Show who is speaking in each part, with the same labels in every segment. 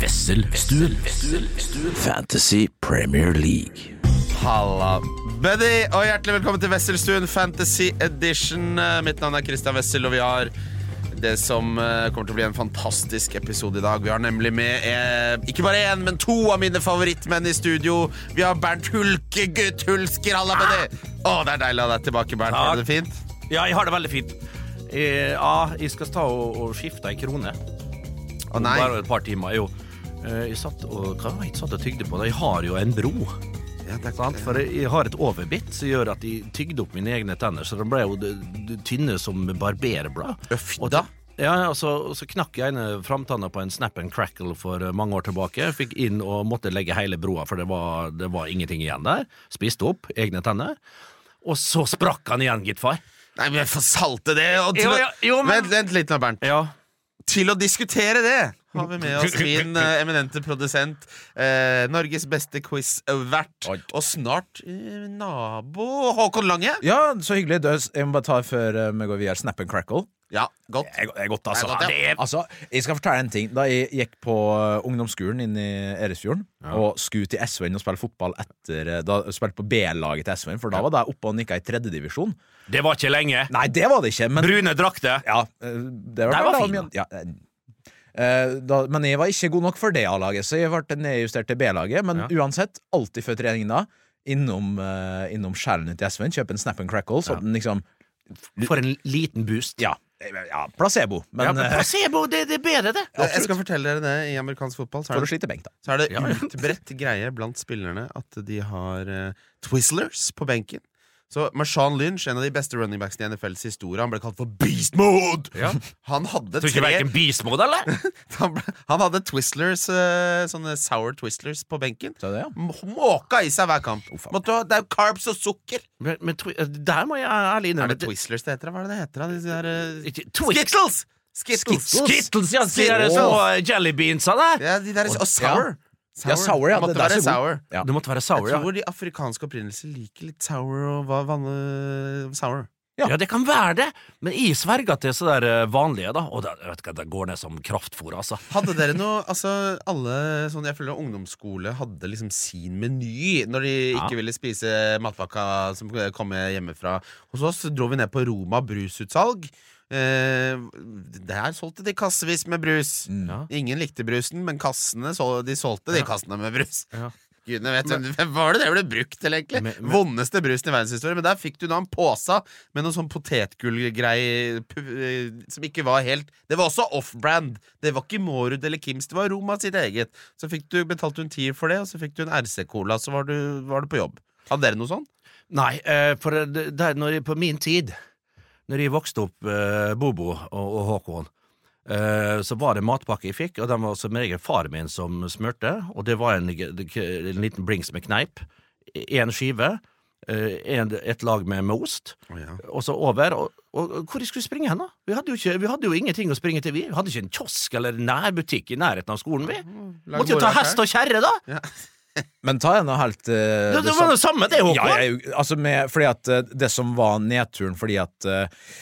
Speaker 1: Vesselstuen. Fantasy Premier League.
Speaker 2: Halla, buddy, og hjertelig velkommen til Wesselstuen Fantasy Edition. Eh, Mitt navn er Christian Wessel, og vi har det som eh, kommer til å bli en fantastisk episode i dag. Vi har nemlig med eh, ikke bare én, men to av mine favorittmenn i studio. Vi har Bernt Hulkegutt Hulsker, halla, buddy! Å,
Speaker 3: Ah!
Speaker 2: det er deilig å ha deg tilbake, Bernt. Har du det fint?
Speaker 3: Ja, jeg har det veldig fint. Eh, ja, jeg skal ta og, og skifte ei krone.
Speaker 2: Å nei.
Speaker 3: Bare et par timer. Jo. Eh, jeg satt og, hva, var det jeg satt og tygde på det. Jeg har jo en bro.
Speaker 2: Ja, det er
Speaker 3: Sant? For jeg, jeg har et overbitt som gjør at jeg tygde opp mine egne tenner, så de ble jo d- d- tynne som barberblad.
Speaker 2: Uff
Speaker 3: Og-
Speaker 2: da.
Speaker 3: Ja, og så, og så knakk jeg ene framtanna på en snap and crackle for eh, mange år tilbake. Fikk inn og måtte legge hele broa, for det var, det var ingenting igjen der. Spiste opp egne tenner. Og så sprakk han igjen, gitt far.
Speaker 2: Nei, men jeg får salte det. Og til
Speaker 3: Jo,
Speaker 2: å-
Speaker 3: ja, jo, men-
Speaker 2: vent, vent litt nå, Bernt.
Speaker 3: Ja,
Speaker 2: Til å diskutere det har vi med oss min eh, eminente produsent, eh, Norges beste quiz-vert,
Speaker 4: Oi.
Speaker 2: og snart eh, nabo Håkon Lange.
Speaker 4: Ja, så hyggelig. Du, Jeg må bare ta før eh, vi går videre. Snap and crackle.
Speaker 2: Ja, godt.
Speaker 4: Det er go- det er godt, altså.
Speaker 2: Det er godt, ja.
Speaker 4: Det er- altså. Jeg skal fortelle en ting. Da jeg gikk på eh, ungdomsskolen inn i Eresfjorden og skulle til SV-en og spille fotball etter eh, Da spilte på B-laget til SV-en, for da var jeg oppe og nikka i tredjedivisjon.
Speaker 3: det var ikke lenge.
Speaker 4: Nei, det var det ikke, men
Speaker 3: Brune drakter.
Speaker 4: Ja, eh, det var,
Speaker 3: Der var
Speaker 4: det
Speaker 3: fin,
Speaker 4: mye- ja, eh, eh, da, men jeg var ikke god nok for det A-laget, så jeg ble nedjustert til B-laget. Men
Speaker 3: Ja.
Speaker 4: uansett, alltid før trening da, innom, uh, innom skjellene til SV-en, kjøpe en Snap and Crackle, så
Speaker 3: Ja.
Speaker 4: den liksom
Speaker 3: For en liten boost.
Speaker 4: Ja, eh, ja placebo. Men
Speaker 3: Ja, men
Speaker 4: eh,
Speaker 3: placebo, det, det er bedre, det.
Speaker 2: Jeg skal fortelle dere det. I amerikansk fotball så
Speaker 4: for
Speaker 2: er
Speaker 4: å
Speaker 2: det,
Speaker 4: slite benk, da.
Speaker 2: så er det
Speaker 3: Ja, ja.
Speaker 2: utbredt greie blant spillerne at de har eh, Twizzlers på benken. Så Marshawn Lynch, en av de beste running backsene i NFLs historie, han ble kalt for Beast Mode!
Speaker 3: Ja.
Speaker 2: Han hadde
Speaker 3: Tror
Speaker 2: tre
Speaker 3: ikke verken bismod, eller?
Speaker 2: han, ble, han hadde Twizzlers, eh, sånne sour Twistlers på benken.
Speaker 4: Så det, ja.
Speaker 2: M- Måka i seg hver kamp. Måtte, ha- det er jo carbs og sukker!
Speaker 3: Men, men twi- der må jeg ærlig
Speaker 2: Er
Speaker 3: innrømme
Speaker 2: det Twizzlers det heter? da? Hva er det det heter? da? Disse der, eh,
Speaker 3: Ikke- Twi-
Speaker 2: Skittles! Skittles!
Speaker 3: Skittles, ja. De der
Speaker 2: Skittles.
Speaker 3: små jellybeansa der.
Speaker 2: Ja, de der, og sour.
Speaker 4: Ja, sour, ja.
Speaker 2: Måtte
Speaker 4: det der
Speaker 2: være
Speaker 4: er så god.
Speaker 2: sour.
Speaker 4: Ja.
Speaker 3: Det måtte være sour,
Speaker 2: Jeg
Speaker 3: ja.
Speaker 2: tror de afrikanske opprinnelser liker litt sour og hva vanne sour.
Speaker 4: Ja.
Speaker 3: Ja, det kan være det, men jeg sverger til så der eh, vanlige, da. Og det, vet du hva, det går ned som kraftfôr, altså.
Speaker 2: Hadde dere noe Altså, alle sånn Jeg føler ungdomsskole hadde liksom sin meny når de ikke ville spise matpakka som kom hjemmefra. Hos oss dro vi ned på Roma brusutsalg. Eh, der solgte de kassevis med brus.
Speaker 3: Mm. Ja.
Speaker 2: Ingen likte brusen, men kassene så, de solgte de kassene med brus.
Speaker 3: Ja.
Speaker 2: Gudene vet hvem- Hvem var det det ble brukt til, egentlig?
Speaker 3: Men- men-
Speaker 2: Vondeste brusen i verdenshistorien. Men der fikk du da en pose med noe sånn potetgullgreie pu- eh, som ikke var helt Det var også off-brand. Det var ikke Mårud eller Kims, det var Roma sitt eget. Så fikk du, betalte du en tier for det, og så fikk du en RC-cola, så var du, var du på jobb. Hadde dere noe sånn?
Speaker 3: Nei, eh, for eh, det- der, når jeg, på min tid, når jeg vokste opp, eh, Bobo og, og Håkon, eh, så var det matpakke jeg fikk, og den var som regel faren min som smurte, og det var en, en liten blings med kneip, e, en skive, eh, en, et lag med, med ost, og så over, og, og, og hvor jeg skulle springe hen da? Vi hadde, jo ikke, vi hadde jo ingenting å springe til vi, vi hadde ikke en kiosk eller nærbutikk i nærheten av skolen vi.
Speaker 2: Lag
Speaker 3: Måtte jo ta
Speaker 2: morgenbrød.
Speaker 3: hest og kjerre da!
Speaker 4: Men ta en og helt eh,
Speaker 3: Det, det
Speaker 4: samme-
Speaker 3: var det samme det, Håkon!
Speaker 4: Ja, jeg, altså med, fordi at eh, det som var nedturen fordi at uh,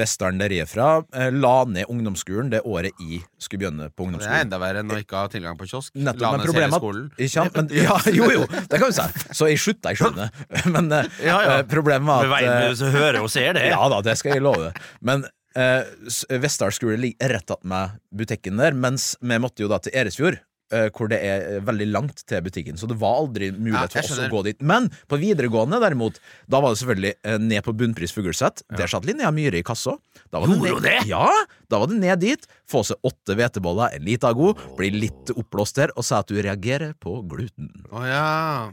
Speaker 4: Vestern der jeg er fra, eh, la ned ungdomsskolen det året jeg skulle begynne på
Speaker 2: Det er
Speaker 4: ungdomsskolen.
Speaker 2: enda verre enn å ikke ha tilgang på kiosk. La
Speaker 4: Nettopp, men
Speaker 2: ned hele
Speaker 4: problemet at-
Speaker 2: skolen.
Speaker 4: Ikke sant? Men, ja, jo, jo, det kan du si. Så jeg slutta i sjuende. Men eh,
Speaker 3: Ja, ja.
Speaker 4: eh, problemet var
Speaker 3: Med
Speaker 4: at
Speaker 3: veien
Speaker 4: eh,
Speaker 3: så hører og ser det.
Speaker 4: Ja da, det skal jeg love. Men uh, Vestdal skole ligger rett attmed butikken der, mens vi måtte jo da til Eresfjord. eh, hvor det er eh, veldig langt til butikken, så det var aldri mulighet
Speaker 2: Ja, jeg
Speaker 4: for oss å
Speaker 2: skjønner.
Speaker 4: gå dit. Men på videregående, derimot, da var det selvfølgelig eh, ned på Bunnpris Fugleseth. Der satt Linnea Myhre i kassa. Da var
Speaker 3: Gjorde hun det?
Speaker 4: Ja! Da var det ned dit, få seg åtte hveteboller, en lita god, bli litt oppblåst der, og si at du reagerer på gluten.
Speaker 2: Å ja.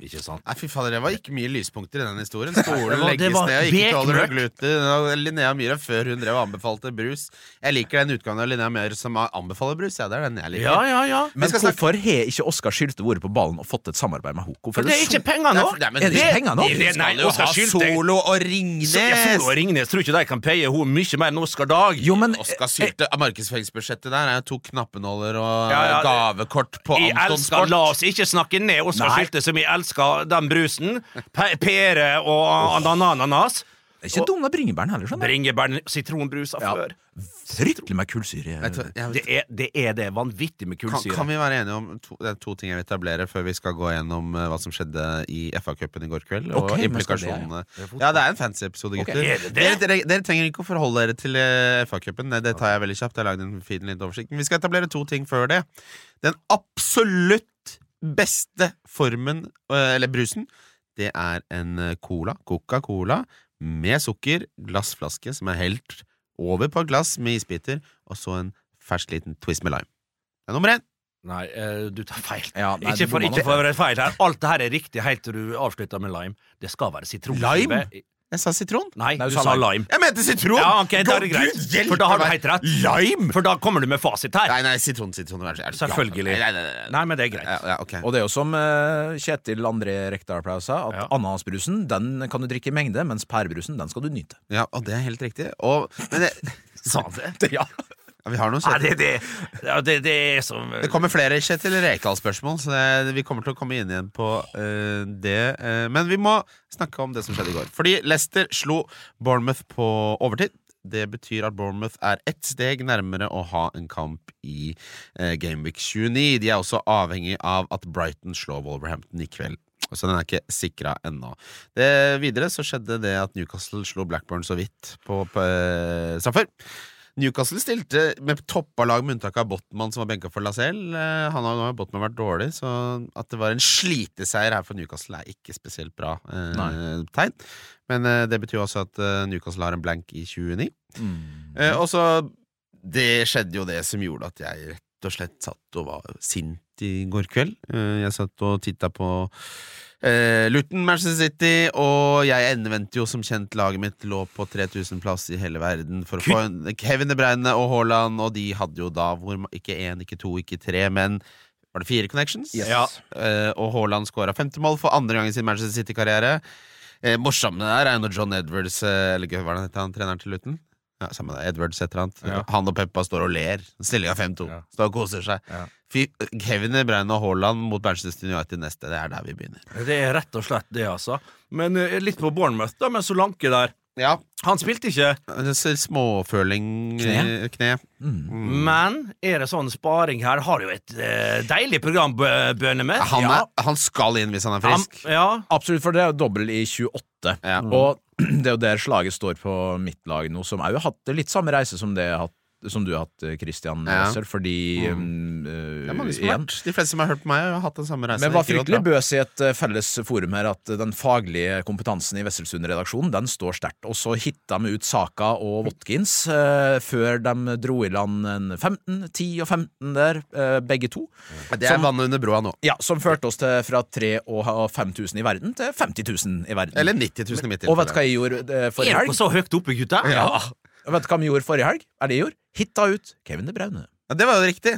Speaker 3: Ikke sant?
Speaker 2: Nei, fy fader, det var ikke mye lyspunkter i den historien. Skolen
Speaker 3: det var- det
Speaker 2: legges
Speaker 3: var
Speaker 2: ned, og ikke tåler noe
Speaker 3: bekmørkt.
Speaker 2: gluten. Og Linnea Myhre før hun drev og anbefalte brus. Jeg liker den utgangen av Linnea Myhre som anbefaler brus. Ja, det er den jeg liker.
Speaker 3: Ja, ja, ja.
Speaker 4: Men
Speaker 2: skal
Speaker 4: hvorfor
Speaker 2: snakke-
Speaker 4: har ikke Oskar Sylte vært på ballen og fått et samarbeid med henne? Hvorfor
Speaker 3: For det er ikke penger
Speaker 2: Nei,
Speaker 3: nå!
Speaker 2: for- nei, men
Speaker 4: Er det ikke
Speaker 2: det-
Speaker 4: penger nå?
Speaker 2: Hun
Speaker 3: Nei,
Speaker 2: skal jo
Speaker 3: Oskar
Speaker 2: ha
Speaker 3: Sylte-
Speaker 2: Solo og
Speaker 3: Så jeg
Speaker 2: Ringnes!
Speaker 3: tror Ringnes tror ikke de kan paye henne mye mer enn Oskar Dag.
Speaker 4: Jo, men
Speaker 3: eh,
Speaker 2: Oskar Sylte, markedsføringsbudsjettet der er to knappenåler og
Speaker 3: Ja, ja, det-
Speaker 2: gavekort på
Speaker 3: jeg
Speaker 2: Anton
Speaker 3: elsker, La
Speaker 2: Sport.
Speaker 3: oss ikke snakke ned Oskar
Speaker 4: Nei.
Speaker 3: Sylte, som jeg elsker den brusen. Pe- Pære og ananas.
Speaker 4: det er ikke dumt med bringebæren heller, skjønner du.
Speaker 3: Bringebær, sitronbrus av før.
Speaker 4: Fryktelig med kullsyre.
Speaker 2: Vet du, jeg
Speaker 3: Det
Speaker 2: vet-
Speaker 3: er, det er det vanvittig med
Speaker 2: Kan,
Speaker 3: kullsyre.
Speaker 2: kan vi være enige om to, det er to ting jeg vil etablere før vi skal gå gjennom eh, hva som skjedde i FA-cupen i går kveld? Og
Speaker 4: Ok, men skal det, ja.
Speaker 2: implikasjonene. ja, det er en fancy episode, gutter.
Speaker 3: er det
Speaker 2: Dere,
Speaker 3: det?
Speaker 2: dere, dere trenger ikke å forholde dere til eh, FA-cupen. Det, det tar jeg veldig kjapt. Jeg har lagd en fin liten oversikt. Men vi skal etablere to ting før det. Den absolutt beste formen, eh, eller brusen, det er en eh, cola, Coca-Cola, med sukker, glassflaske som er helt over på et glass med isbiter, og så en fersk liten twist med lime. Det er nummer én.
Speaker 3: Nei, eh, du tar feil.
Speaker 4: Ja, nei,
Speaker 3: ikke
Speaker 4: du
Speaker 3: for,
Speaker 4: bommer
Speaker 3: ikke
Speaker 4: nå.
Speaker 3: for å være feil her. Alt det her er riktig helt til du avslutter med lime. Det skal være sitronskive.
Speaker 2: Lime? Jeg sa sitron.
Speaker 3: Nei,
Speaker 4: Nei,
Speaker 3: du sa lime.
Speaker 2: Jeg mente sitron!
Speaker 3: Ja, ok, da er det
Speaker 2: Gud,
Speaker 3: greit.
Speaker 2: hjelpe
Speaker 3: For da har du
Speaker 2: meg.
Speaker 3: helt rett.
Speaker 2: Lime!
Speaker 3: For da kommer du med fasit her.
Speaker 2: Nei, nei, sitron, sitron. vær så- er du gal?
Speaker 3: Selvfølgelig.
Speaker 2: Nei, nei, nei, nei.
Speaker 3: Nei, men det er greit.
Speaker 2: Ja, ja, ok.
Speaker 4: Og det er jo som eh, Kjetil André Rekdal pleier å si, at
Speaker 3: Ja.
Speaker 4: ananasbrusen den kan du drikke i mengde, mens pærebrusen den skal du nyte.
Speaker 2: ja, og det er helt riktig. Og, men det,
Speaker 3: Sa han det? Ja.
Speaker 2: ja, vi har noen
Speaker 3: Nei,
Speaker 2: Kjetil.
Speaker 3: det, det, ja, det, det er som
Speaker 2: Det kommer flere Kjetil Rekdal-spørsmål, så det, vi kommer til å komme inn igjen på eh, det. eh, men vi må snakke om det som skjedde i går. Fordi Leicester slo Bournemouth på overtid. Det betyr at Bournemouth er ett steg nærmere å ha en kamp i eh, Gameweek 29. De er også avhengig av at Brighton slår Wolverhampton i kveld. Så den er ikke sikra ennå. Det, videre så skjedde det at Newcastle slo Blackburn så vidt på, på eh, straffer. Newcastle stilte med toppa lag med unntak av Botman, som var benka for Lacelle. Eh, Han har, nå har Botman vært dårlig, så at det var en sliteseier her for Newcastle, er ikke spesielt bra eh, tegn. Men eh, det betyr også at eh, Newcastle har en blank i 29.
Speaker 3: Mm.
Speaker 2: Eh, og så Det skjedde jo det som gjorde at jeg rett og slett satt og var sint i går kveld. Eh, jeg satt og titta på eh, Luton, Manchester City, og jeg endevendte jo som kjent laget mitt lå på 3000 plass i hele verden for å få en Kevin De Bruyne og Haaland, og de hadde jo da hvor, ma- ikke én, ikke to, ikke tre, men var det fire connections?
Speaker 3: Ja.
Speaker 2: Eh, og Haaland skåra femte mål for andre gangen i sin Manchester City-karriere. Eh, morsomme der er jo når John Edwards, eh, eller hva er det han heter, han treneren til Luton? Ja, samme det, Edwards et eller annet. Han og Peppa står og ler. Stillinga 5-2.
Speaker 3: Ja.
Speaker 2: Står og koser seg. Fy, Kevin De Bruyne og Haaland mot Manchester United neste, det er der vi begynner.
Speaker 3: Det er rett og slett det, altså. Men eh, litt på Bournemouth, da, med Solanke der.
Speaker 2: Ja,
Speaker 3: Han spilte ikke,
Speaker 2: det er småføling
Speaker 4: Kne?
Speaker 2: eh, kne.
Speaker 3: men er det sånn sparing her? Har jo et eh, deilig program, Bø- Bøhnemeth.
Speaker 2: Han,
Speaker 3: Ja.
Speaker 2: er, han skal inn hvis han er frisk.
Speaker 3: Han- Ja.
Speaker 4: Absolutt, for det er jo dobbel i 28.
Speaker 2: Ja.
Speaker 3: Mm.
Speaker 4: Og det er jo der slaget står på mitt lag nå, som òg har hatt litt samme reise som, det jeg har hatt, som du har hatt, eh, Christian
Speaker 2: Ja.
Speaker 4: Wessel, fordi mm.
Speaker 2: Det er mange som har
Speaker 4: igjen.
Speaker 2: vært. De fleste som har hørt på meg, har hatt den samme reisen.
Speaker 4: Men var
Speaker 2: Det gikk jo
Speaker 4: fryktelig
Speaker 2: bra.
Speaker 4: bøs i et eh, felles forum her at eh, den faglige kompetansen i Wesselsund-redaksjonen den står sterkt. Og så hitta de ut Saka og Watkins eh, før de dro i land en 15, 10 og 15 der, eh, begge to.
Speaker 2: Det er
Speaker 4: Som-
Speaker 2: vannet under broa nå.
Speaker 4: Ja, Som førte oss til fra 3 og 5000 i verden til 50 000 i verden.
Speaker 2: Eller 90 000 i mitt
Speaker 4: og vet du hva jeg gjorde eh, forrige
Speaker 3: Er dere
Speaker 4: helg?
Speaker 3: så høyt oppe, gutta?
Speaker 4: Ja. Og Vet du hva vi gjorde forrige helg? Er det jeg gjorde? Hitta ut Kevin De Braune.
Speaker 2: Ja, det var jo riktig.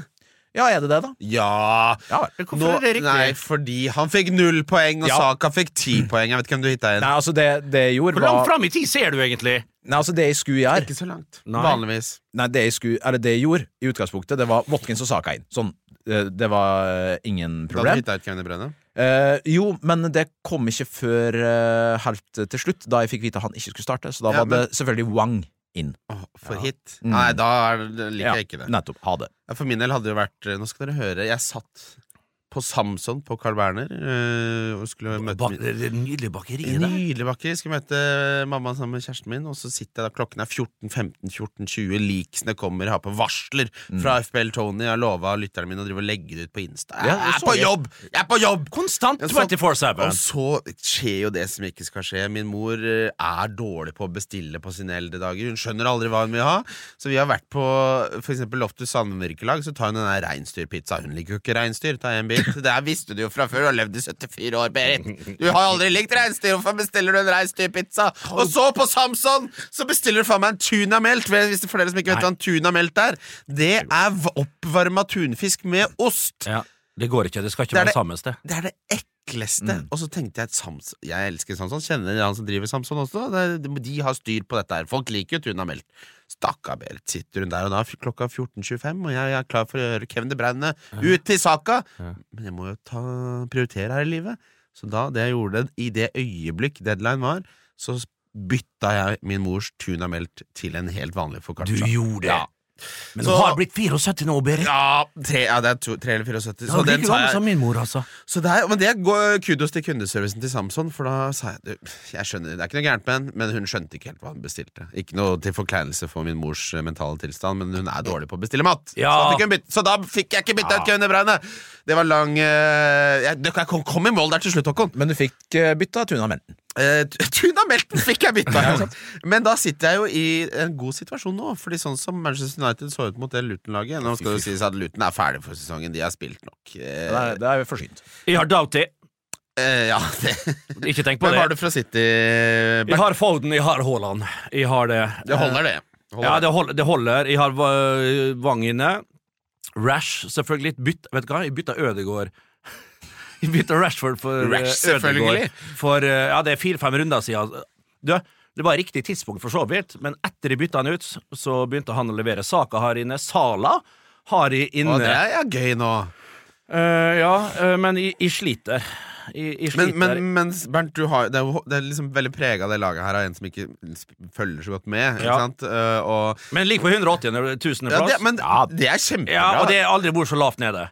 Speaker 4: Ja, er det det, da?
Speaker 2: Ja
Speaker 4: Ja vel.
Speaker 3: Hvorfor
Speaker 2: Nå-
Speaker 3: er det riktig?
Speaker 2: Nei, fordi han fikk null poeng, og
Speaker 4: Ja.
Speaker 2: Saka fikk ti poeng. Jeg vet ikke hvem du hitta inn.
Speaker 4: Nei, altså, det, det jeg gjorde,
Speaker 3: Hvor langt
Speaker 4: var
Speaker 3: fram i tid ser du egentlig?
Speaker 4: Nei, altså, det jeg skulle gjøre
Speaker 2: Ikke så langt.
Speaker 3: Nei.
Speaker 2: Vanligvis.
Speaker 4: Nei, det jeg, skulle, eller det jeg gjorde i utgangspunktet, det var Watkins og Saka inn. Sånn, eh, det var eh, ingen
Speaker 2: Da hadde du
Speaker 4: problem.
Speaker 2: hitta ut Kevin De Bruyne.
Speaker 4: Eh, jo, men det kom ikke før eh, helt til slutt, da jeg fikk vite at han ikke skulle starte. Så da
Speaker 2: Ja,
Speaker 4: var det selvfølgelig Wang inn.
Speaker 2: Åh, for hit.
Speaker 4: Mm.
Speaker 2: Nei, da er det- liker
Speaker 4: Ja,
Speaker 2: jeg ikke det.
Speaker 4: Nettopp. Ha det.
Speaker 2: eh, Ja, For min del hadde det jo vært Nå skal dere høre. Jeg satt på Samson på Carl Berner. eh, og skulle møte
Speaker 3: Bak,
Speaker 2: min-
Speaker 3: det det nydelige bakeriet der.
Speaker 2: Nydelig vakker. Skal møte eh, mamma sammen med kjæresten min, og så sitter jeg da klokken er 14.15-14.20, liksene kommer, har på varsler fra FBL Tony. Jeg har lova lytterne mine å drive og legge det ut på Insta. Jeg
Speaker 3: Ja, det
Speaker 2: er
Speaker 3: så
Speaker 2: på
Speaker 3: jeg.
Speaker 2: jobb! Jeg er sånn- på jobb!
Speaker 3: Konstant
Speaker 2: Ja, så-
Speaker 3: 24-7.
Speaker 2: Og så skjer jo det som ikke skal skje. Min mor eh, er dårlig på å bestille på sine eldre dager. Hun skjønner aldri hva hun vil ha. Så vi har vært på for eksempel Loftus Sandvirkelag, så tar hun den der reinsdyrpizza. Hun liker jo ikke reinsdyr. Ta en bit. Det her visste du jo fra før. Du har levd i 74 år, Berit. Du har jo aldri likt reinsdyr. Hvorfor bestiller du en reinsdyrpizza? Og så, på Samson, så bestiller du faen meg en tunamelt. Hvis det er flere som ikke vet hva en tunamelt er, det er v- oppvarma tunfisk med ost.
Speaker 3: Ja, det går ikke. Det skal ikke
Speaker 2: Det er det-
Speaker 3: være samme sted.
Speaker 2: Det er det ekleste.
Speaker 3: Mm.
Speaker 2: Og så tenkte jeg at Sams Jeg elsker Samson. Kjenner han som driver Samson også. Det, de har styr på dette her. Folk liker jo Tuna Melk. Stakkar Berit, sitter hun der, og da er klokka 14.25, og jeg er klar for å gjøre Kevin De Bruyne ut til saka! Men jeg må jo ta, prioritere her i livet. Så da, det jeg gjorde, i det øyeblikk deadline var, så bytta jeg min mors Tuna Melt til en helt vanlig
Speaker 3: Du
Speaker 2: foccaccia.
Speaker 3: gjorde det.
Speaker 2: Ja.
Speaker 3: Men
Speaker 2: Så-
Speaker 3: du har blitt 74 nå, Berit.
Speaker 2: Ja, tre, ja, det er to, tre eller 74.
Speaker 3: Ja,
Speaker 2: Så den
Speaker 3: like
Speaker 2: tar
Speaker 3: gammel
Speaker 2: jeg
Speaker 3: som min mor, altså.
Speaker 2: Så det er, men det går kudos til kundeservicen til Samson, for da sa jeg du, Jeg skjønner, det er ikke noe gærent med henne, men hun skjønte ikke helt hva hun bestilte. Ikke noe til forkleinelse for min mors eh, mentale tilstand, men hun er dårlig på å bestille mat. Så,
Speaker 3: Ja.
Speaker 2: da fikk hun bytte, så da fikk jeg ikke bytta ut Kevin De Bruyne! Det var lang eh, jeg, det- jeg kom, kom i mål der til slutt, Håkon.
Speaker 4: Men du fikk eh, bytta tunamenten.
Speaker 2: Eh, t- Tunamelten fikk jeg bytta! Men da sitter jeg jo i en god situasjon nå. Fordi sånn som Manchester United så ut mot det Luton-laget Nå skal det jo sies at Luton er ferdig for sesongen. De har spilt nok. Eh,
Speaker 4: Det er, det er forsynt.
Speaker 3: Jeg har Doughty.
Speaker 2: eh, ja, det
Speaker 3: Ikke tenk på
Speaker 2: Hvem har du
Speaker 3: det.
Speaker 2: fra City?
Speaker 3: Jeg
Speaker 2: Bernt?
Speaker 3: har Foden, jeg har Haaland. Jeg har det. eh,
Speaker 2: Det holder, det. Holder
Speaker 3: Ja,
Speaker 2: det.
Speaker 3: det holder. Det holder. Jeg har øh, Wang inne. Rash, selvfølgelig. Bytt, vet du hva? Jeg bytta Ødegård. Jeg bytta Rashford for øh,
Speaker 2: Rash, selvfølgelig.
Speaker 3: Ødegaard. For, øh, ja, det er fire-fem runder siden. Du, det var riktig tidspunkt, for så vidt, men etter de bytta han ut, så begynte han å levere. Saka har inne. Sala har jeg inne.
Speaker 2: Å, det er ja, gøy nå.
Speaker 3: Øh, ja, øh, men jeg, jeg sliter. Jeg, jeg
Speaker 2: Men,
Speaker 3: sliter.
Speaker 2: men, men Bernt, du har, det, er, jo- det er liksom veldig prega av det laget her, av en som ikke sp- følger så godt med. Ikke
Speaker 3: Ja.
Speaker 2: sant? Eh, og,
Speaker 3: Men like på 180. eller
Speaker 2: ja,
Speaker 3: 1000.
Speaker 2: det,
Speaker 3: plass.
Speaker 2: men det er
Speaker 3: ja,
Speaker 2: kjempebra.
Speaker 3: og det har aldri vært så lavt nede.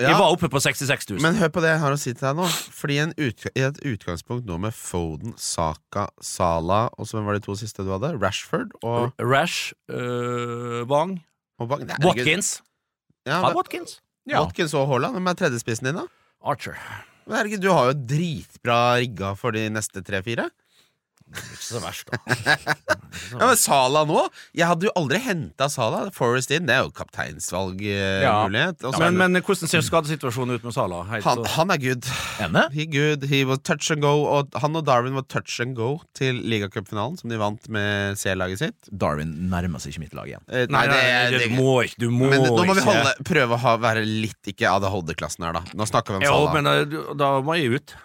Speaker 2: Ja.
Speaker 3: Jeg var oppe på 66 000.
Speaker 2: Men hør på det jeg har å si til deg nå. Fordi en ut, I et utgangspunkt nå med Foden, Saka, Sala og så hvem var de to siste du hadde? Rashford og,
Speaker 3: Rash, øh, Wang,
Speaker 2: og Bang- Nei, herregud.
Speaker 3: Watkins.
Speaker 2: Ja,
Speaker 3: Har Watkins.
Speaker 2: ja. Watkins og Haaland. Hvem er tredjespissen din, da?
Speaker 3: Archer.
Speaker 2: Men Herregud, du har jo dritbra rigga for de neste tre-fire.
Speaker 3: Ikke så verst, da.
Speaker 2: Ja, men Sala nå? Jeg hadde jo aldri henta Sala. Forest in, det er jo
Speaker 4: Ja.
Speaker 2: kapteinsvalgmulighet.
Speaker 3: Ja, men, men hvordan ser skadesituasjonen ut med Sala? Helt
Speaker 2: han,
Speaker 3: så-
Speaker 2: han er good.
Speaker 4: Ene?
Speaker 2: He good, he was touch and go Og Han og Darwin var touch and go til ligacupfinalen, som de vant med C-laget sitt.
Speaker 4: Darwin nærmer seg ikke mitt lag igjen.
Speaker 2: Eh,
Speaker 3: Nei, nei, nei, du må ikke. Du må
Speaker 2: men nå må vi
Speaker 3: ikke.
Speaker 2: holde, prøve å ha, være litt ikke ADHD-klassen her, da. Nå snakker vi om
Speaker 3: Jo,
Speaker 2: Sala.
Speaker 3: men øh, du- da må jeg ut.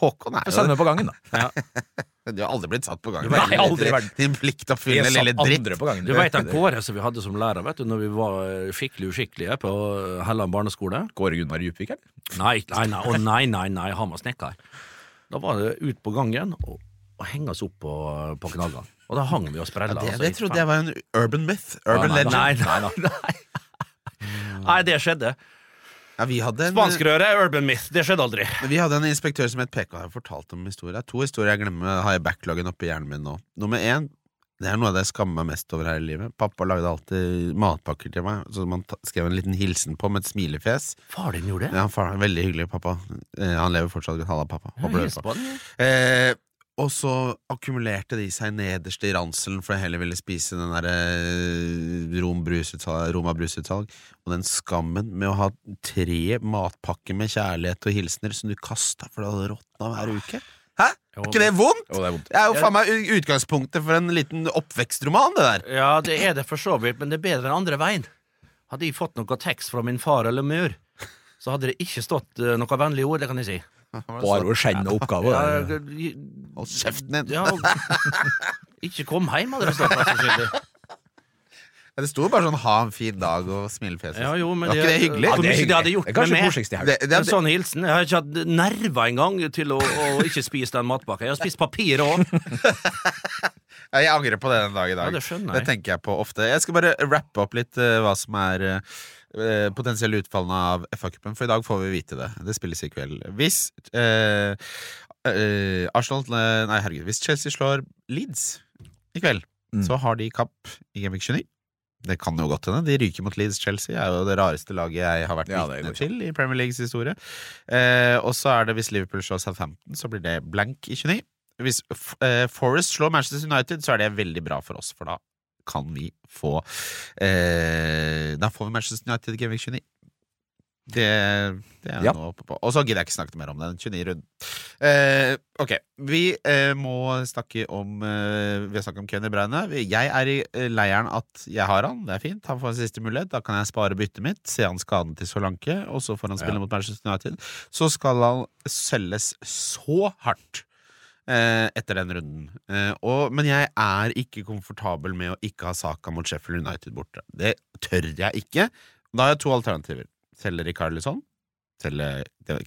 Speaker 2: Håkon er
Speaker 4: Send
Speaker 2: jo
Speaker 4: meg på gangen, da.
Speaker 2: Du har aldri blitt satt på gangen.
Speaker 4: Nei, aldri
Speaker 2: Din-
Speaker 4: vært.
Speaker 2: Din pliktoppfyllende lille dritt.
Speaker 4: på gangen.
Speaker 3: Du veit den Kåre som vi hadde som lærer vet du, når vi var øh, skikkelig uskikkelige på øh, Helland barneskole?
Speaker 4: Kåre Gunnar Djupvik, eller?
Speaker 3: Nei, nei, nei, å nei, nei, nei, han var snekker. Da var det ut på gangen og, og henge oss opp på, på knaggene. Og da hang vi og sprella.
Speaker 2: Det,
Speaker 3: altså,
Speaker 2: det
Speaker 3: i
Speaker 2: trodde
Speaker 3: fem-
Speaker 2: jeg var en urban myth. Urban
Speaker 3: nei,
Speaker 2: legend.
Speaker 3: nei, nei, nei, nei. nei, det skjedde.
Speaker 2: Ja, vi hadde en
Speaker 3: Spanskrøre er urban myth. Det skjedde aldri.
Speaker 2: Men Vi hadde en inspektør som het PK. Jeg har fortalt om historier. To historier jeg glemmer, har jeg backloggen oppi hjernen min nå. Nummer én, det er noe av det jeg skammer meg mest over her i livet. Pappa lagde alltid matpakker til meg, som han ta- skrev en liten hilsen på med et smilefjes.
Speaker 3: Far din gjorde det.
Speaker 2: Ja, far, veldig hyggelig, pappa. Eh, han lever fortsatt godt. Halla, pappa. Håper du hører på.
Speaker 3: Hilse på den.
Speaker 2: Eh, og så akkumulerte de seg nederst i ranselen, for jeg heller ville spise den der eh, Rom brusutsalg- Roma brusutsalg. Og den skammen med å ha tre matpakker med kjærlighet og hilsener som du kasta for det hadde råtna hver uke. Hæ? Er ikke det vondt?
Speaker 4: Å, det er vondt.
Speaker 2: Det er jo faen meg u- utgangspunktet for en liten oppvekstroman, det der.
Speaker 3: Ja, det er det for så vidt, men det er bedre enn andre veien. Hadde jeg fått noe tekst fra min far eller mor, så hadde det ikke stått eh, noe vennlig ord, det kan jeg si.
Speaker 4: Bare å skjenne oppgaver.
Speaker 3: Ja,
Speaker 4: det er-
Speaker 3: det-
Speaker 2: Hold kjeften din.
Speaker 3: ja, ikke kom hjem, hadde det stått. mest sannsynlig.
Speaker 2: Det sto bare sånn 'ha en fin dag' og smilefjes.
Speaker 3: Ja, jo, men
Speaker 2: Var ikke det hyggelig?
Speaker 3: Hvor
Speaker 4: det er
Speaker 3: mye det hadde
Speaker 4: hyggelig.
Speaker 3: gjort
Speaker 4: Det er
Speaker 3: med
Speaker 4: kanskje
Speaker 3: meg.
Speaker 4: koseligste i helgen.
Speaker 2: Det, det,
Speaker 3: En
Speaker 2: det,
Speaker 3: sånn hilsen. Jeg har ikke hatt nerver engang til å, å ikke spise den matpakka. Jeg har spist papir òg.
Speaker 2: Ja, Jeg angrer på det den dag i dag.
Speaker 3: Ja, det skjønner
Speaker 2: Det
Speaker 3: jeg.
Speaker 2: tenker jeg på ofte. Jeg skal bare rappe opp litt eh, hva som er eh, potensielle utfallene av FA-cupen, for i dag får vi vite det. Det spilles i kveld. Hvis eh, eh, Arsenal Nei, herregud. Hvis Chelsea slår Leeds i kveld,
Speaker 4: Mm.
Speaker 2: så har de kapp i Gamvik 29. Det kan jo godt hende. De ryker mot Leeds Chelsea. er jo det rareste laget jeg har vært
Speaker 4: Ja, det
Speaker 2: vitne
Speaker 4: går ikke.
Speaker 2: til i Premier Leagues historie. Eh, og så er det hvis Liverpool slår Southampton, så blir det blank i 29. Hvis F- eh, Forest slår Manchester United, så er det veldig bra for oss, for da kan vi få eh, Da får vi Manchester United i Gamvik 29. Det, det er
Speaker 4: Ja.
Speaker 2: jeg nå oppe på. Og så gidder jeg ikke snakke mer om den. 29 runden. Eh, ok, vi eh, må snakke om eh, Vi har snakket om Kenny Breine. Jeg er i eh, leiren at jeg har han. Det er fint. Han får en siste mulighet. Da kan jeg spare byttet mitt, se han skaden til Solanke, og så får han spille mot Manchester United. Så skal han selges så hardt. eh, Etter den runden. Eh, og, men jeg er ikke komfortabel med å ikke ha saka mot Sheffield United borte. Det tør jeg ikke. Da har jeg to alternativer. Selge Rikarlison. Selge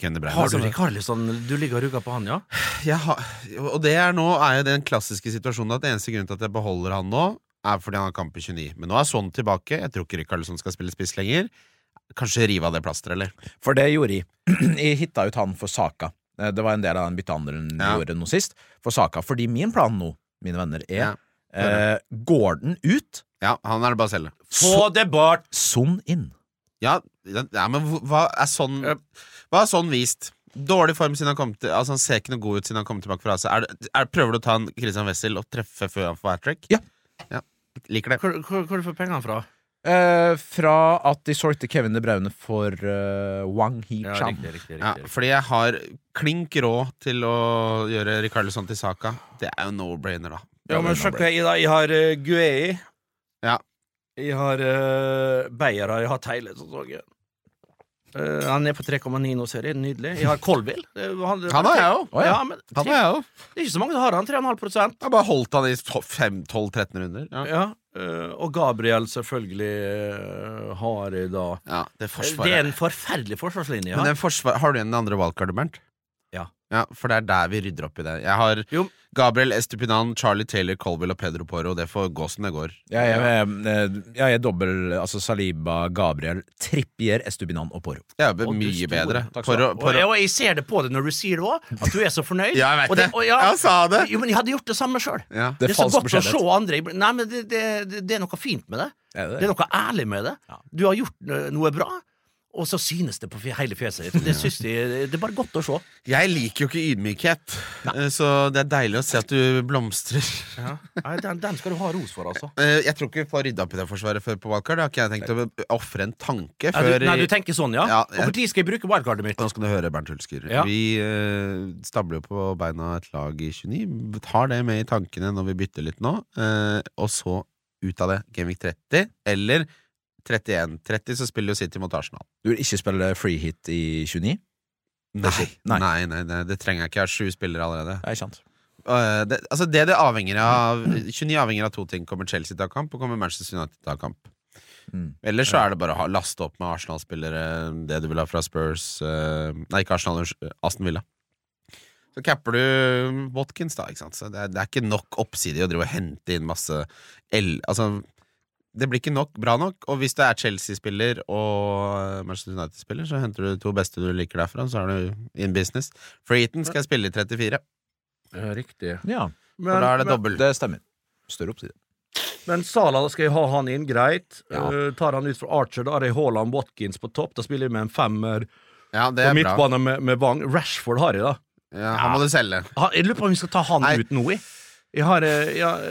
Speaker 2: Kenny Breine.
Speaker 3: Har du
Speaker 2: som-
Speaker 3: Rikarlison? sånn- Du ligger og ruger på han, ja?
Speaker 2: jeg har, og det er nå er jo den klassiske situasjonen at eneste grunnen til at jeg beholder han nå, er fordi han har kamp i 29. Men nå er sånn tilbake. Jeg tror ikke Rikardsson skal spille spiss lenger. Kanskje rive av det plasteret, eller?
Speaker 4: For det gjorde jeg. jeg hitta ut han for Saka. Eh, Det var en del av den byttehandelen vi
Speaker 2: Ja.
Speaker 4: gjorde nå sist, for Saka. Fordi min plan nå, mine venner, er
Speaker 2: Ja,
Speaker 4: eh, Går den ut,
Speaker 2: Ja, han er det bare å selge.
Speaker 4: så
Speaker 3: det bort!
Speaker 4: Son inn.
Speaker 2: Ja, ja, men hva er sånn Hva er sånn vist? Dårlig form siden han kom til Altså Han ser ikke noe god ut siden han kom tilbake fra AC. Er, det- er, prøver du å ta en Christian Wessel og treffe før han får hat trick?
Speaker 4: Ja.
Speaker 2: ja. Liker det.
Speaker 3: Hvor, hvor, hvor får du pengene fra?
Speaker 4: Eh, fra at de solgte Kevin De Braune for eh, Wang Hee-chan.
Speaker 3: riktig.
Speaker 2: Ja, fordi jeg har klink råd til å gjøre Rikardsson til saka. Det er jo no-brainer, da. Det er
Speaker 3: Ja,
Speaker 2: jo
Speaker 3: men
Speaker 2: no-brainer.
Speaker 3: sjekk hva jeg da. Jeg har eh, Guei.
Speaker 2: Ja.
Speaker 3: Jeg har uh, Beyer har jeg hatt hele sesongen. Eh, han er på 3,9 nå, ser jeg. Nydelig. Jeg har Colville. Eh, han,
Speaker 2: Han har jeg òg.
Speaker 4: Å, ja.
Speaker 3: Ja, men
Speaker 2: Han
Speaker 3: tre,
Speaker 2: har jeg òg.
Speaker 3: det er ikke så mange som har han. 3,5
Speaker 2: Jeg har bare holdt han i 12-13 runder. Ja.
Speaker 3: ja. eh, Og Gabriel, selvfølgelig, eh, har jeg da.
Speaker 2: Ja, det er
Speaker 3: Det er
Speaker 2: forsvaret.
Speaker 3: en forferdelig forsvarslinje.
Speaker 2: Men
Speaker 3: Ja.
Speaker 2: den forsvar, har du igjen den andre wildcardet, Bernt?
Speaker 3: Ja.
Speaker 2: For det er der vi rydder opp i det. Jeg har
Speaker 3: Jo.
Speaker 2: Gabriel Estupinan, Charlie Taylor, Colville og Pedro Poro. Det får gå som det går.
Speaker 4: Jeg, er- eh, jeg er dobbel altså Saliba, Gabriel, Trippier, Estubinan og Poro.
Speaker 2: Det er jo
Speaker 3: Å, du
Speaker 2: mye
Speaker 3: store.
Speaker 2: bedre.
Speaker 4: Takk skal du
Speaker 2: Poro,
Speaker 4: ha.
Speaker 3: Og,
Speaker 2: Poro.
Speaker 3: og jeg ser det på deg når du sier det òg, at du er så fornøyd.
Speaker 2: Ja, jeg
Speaker 3: Og
Speaker 2: vet det.
Speaker 3: og
Speaker 2: Jeg sa det.
Speaker 3: Jo, men jeg hadde gjort det samme sjøl.
Speaker 2: Ja.
Speaker 4: Det
Speaker 3: Det
Speaker 4: er
Speaker 3: er så
Speaker 4: falsk
Speaker 3: godt å se
Speaker 4: beskjedenhet.
Speaker 3: andre i bl- Nei, men det, det, det, det er noe fint med det.
Speaker 4: Er det det?
Speaker 3: Det er noe ærlig med det.
Speaker 4: Ja.
Speaker 3: Du har gjort eh, noe bra, og så synes det på fje- hele fjeset ditt. Det synes de, det er bare godt å se.
Speaker 2: Jeg liker jo ikke ydmykhet, Eh, så det er deilig å se at du blomstrer.
Speaker 3: Nei, den, den skal du ha ros for, altså.
Speaker 2: Eh, Jeg tror ikke vi får rydda opp i det forsvaret før på wildcard. Det har ikke jeg tenkt å ofre en tanke
Speaker 3: Nei,
Speaker 2: før
Speaker 3: du, nei, du tenker sånn, ja?
Speaker 2: Ja,
Speaker 3: Og når skal jeg bruke wildcardet mitt?
Speaker 2: Nå skal du høre, Bernt Hulsker.
Speaker 3: Ja.
Speaker 2: Vi eh, stabler jo på beina et lag i 29. Tar det med i tankene når vi bytter litt nå. eh, og så ut av det. Gamevik 30 eller 31. 30 så spiller jo City mot Arsenal.
Speaker 4: Du vil ikke spille free hit i 29?
Speaker 2: Nei,
Speaker 4: Nei.
Speaker 2: nei, nei, nei, det trenger jeg ikke. Jeg har sju spillere allerede.
Speaker 4: Det er sant.
Speaker 2: Eh, det, altså det det avhenger av 29 avhenger av to ting. Kommer Chelsea til å ha kamp, og kommer Manchester United til å ha kamp.
Speaker 4: Mm.
Speaker 2: Ellers så er det bare å ha- laste opp med Arsenal-spillere, det du vil ha fra Spurs eh, Nei, ikke Arsenal, unnskyld, Aston Villa. Så capper du Watkins, da. ikke sant? Så det, er, det er ikke nok oppside i å drive og hente inn masse L... Altså, det blir ikke nok, bra nok. Og hvis du er Chelsea-spiller og Manchester United-spiller, så henter du de to beste du liker derfra, så er du in business. Freeton skal spille i 34,
Speaker 3: Riktig.
Speaker 4: Ja,
Speaker 2: for da er det dobbel.
Speaker 4: det stemmer. Større oppside.
Speaker 3: Men Sala da skal jeg ha han inn, greit.
Speaker 4: Ja.
Speaker 3: Eh, tar han ut fra Archer, da er det Haaland Watkins på topp. Da spiller jeg med en femmer.
Speaker 2: Ja, det
Speaker 3: På
Speaker 2: er bra.
Speaker 3: midtbane med, med Wang. Rashford har jeg, da.
Speaker 2: Ja, han må du selge.
Speaker 3: Ha- Jeg lurer på om vi skal ta han
Speaker 2: Nei.
Speaker 3: ut nå, jeg. Jeg har, eh, jeg, har-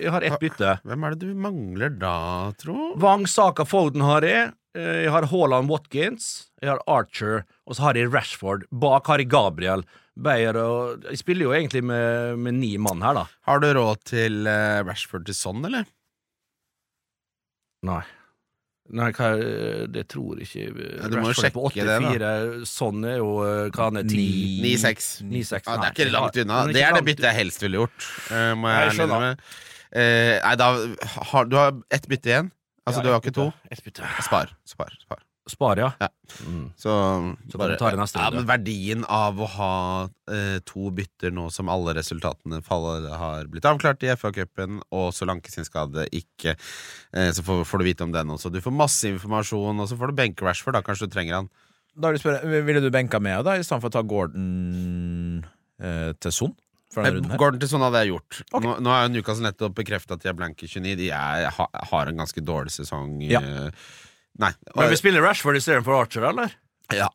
Speaker 3: jeg har ett bytte.
Speaker 2: Hvem er det du mangler da, tro?
Speaker 3: Wang, Saka, Foden har jeg. Eh, Jeg har Haaland, Watkins. Jeg har Archer. Og så har jeg Rashford. Bak har jeg Gabriel. Beyer og Jeg spiller jo egentlig med, med ni mann her, da.
Speaker 2: Har du råd til eh, Rashford til sånn, eller?
Speaker 3: Nei. Nei, hva, er- det tror jeg ikke eh,
Speaker 2: Ja, du må jo
Speaker 3: Rashford er på
Speaker 2: sjekke det, da.
Speaker 3: 84. Sånn er jo eh, Hva han er 10
Speaker 2: 9-6.
Speaker 3: 9-6.
Speaker 2: Ja, det
Speaker 3: Nei,
Speaker 2: er ikke langt unna.
Speaker 3: men
Speaker 2: Det er det
Speaker 3: langt-
Speaker 2: byttet jeg helst ville gjort. eh, må
Speaker 3: Nei,
Speaker 2: jeg
Speaker 3: jeg skjønner.
Speaker 2: innrømme. Eh, nei, da har, Du har ett bytte igjen. Altså,
Speaker 3: Ja,
Speaker 2: du har
Speaker 3: ett
Speaker 2: ikke to.
Speaker 3: bytte. Ett bytte.
Speaker 2: Spar. Spar. spar.
Speaker 3: Spar, ja. Mm.
Speaker 2: Så,
Speaker 3: Så kan du ta det neste
Speaker 2: ja,
Speaker 3: runde.
Speaker 2: men verdien av å ha eh, to bytter nå som alle resultatene faller, har blitt avklart i FA-cupen, og Solanke sin skade ikke eh, Så får, får du vite om den også. Du får masse informasjon, og så får du benke Rashford, da kanskje du trenger han.
Speaker 4: Da vil jeg spørre, Ville du benka med da, i stedet for å ta Gordon eh, til Son? For denne runden her?
Speaker 2: Gordon til sånn hadde jeg gjort. Nå, nå er jo Newcastle nettopp bekrefta at de er blanke i 29. De er, ha, har en ganske dårlig sesong.
Speaker 4: Ja.
Speaker 2: eh, Nei.
Speaker 3: Men vi spiller Rashford istedenfor Archer, eller?
Speaker 2: Ja.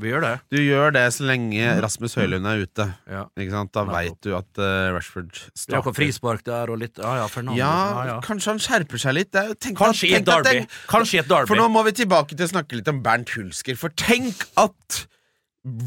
Speaker 3: Vi gjør det.
Speaker 2: Du gjør det så lenge Rasmus Høylund er ute.
Speaker 3: Ja.
Speaker 2: Ikke sant? Da
Speaker 3: Nettopp.
Speaker 2: veit du at eh, Rashford
Speaker 3: Vi har
Speaker 2: starter.
Speaker 3: noe frispark der og litt Ja ja, Fernando.
Speaker 2: Ja,
Speaker 3: ja, ja.
Speaker 2: kanskje han skjerper seg litt. Det er jo- Tenk,
Speaker 3: Kanskje i
Speaker 2: tenk
Speaker 3: et derby.
Speaker 2: tenk-
Speaker 3: Kanskje i et derby.
Speaker 2: For nå må vi tilbake til å snakke litt om Bernt Hulsker. For tenk at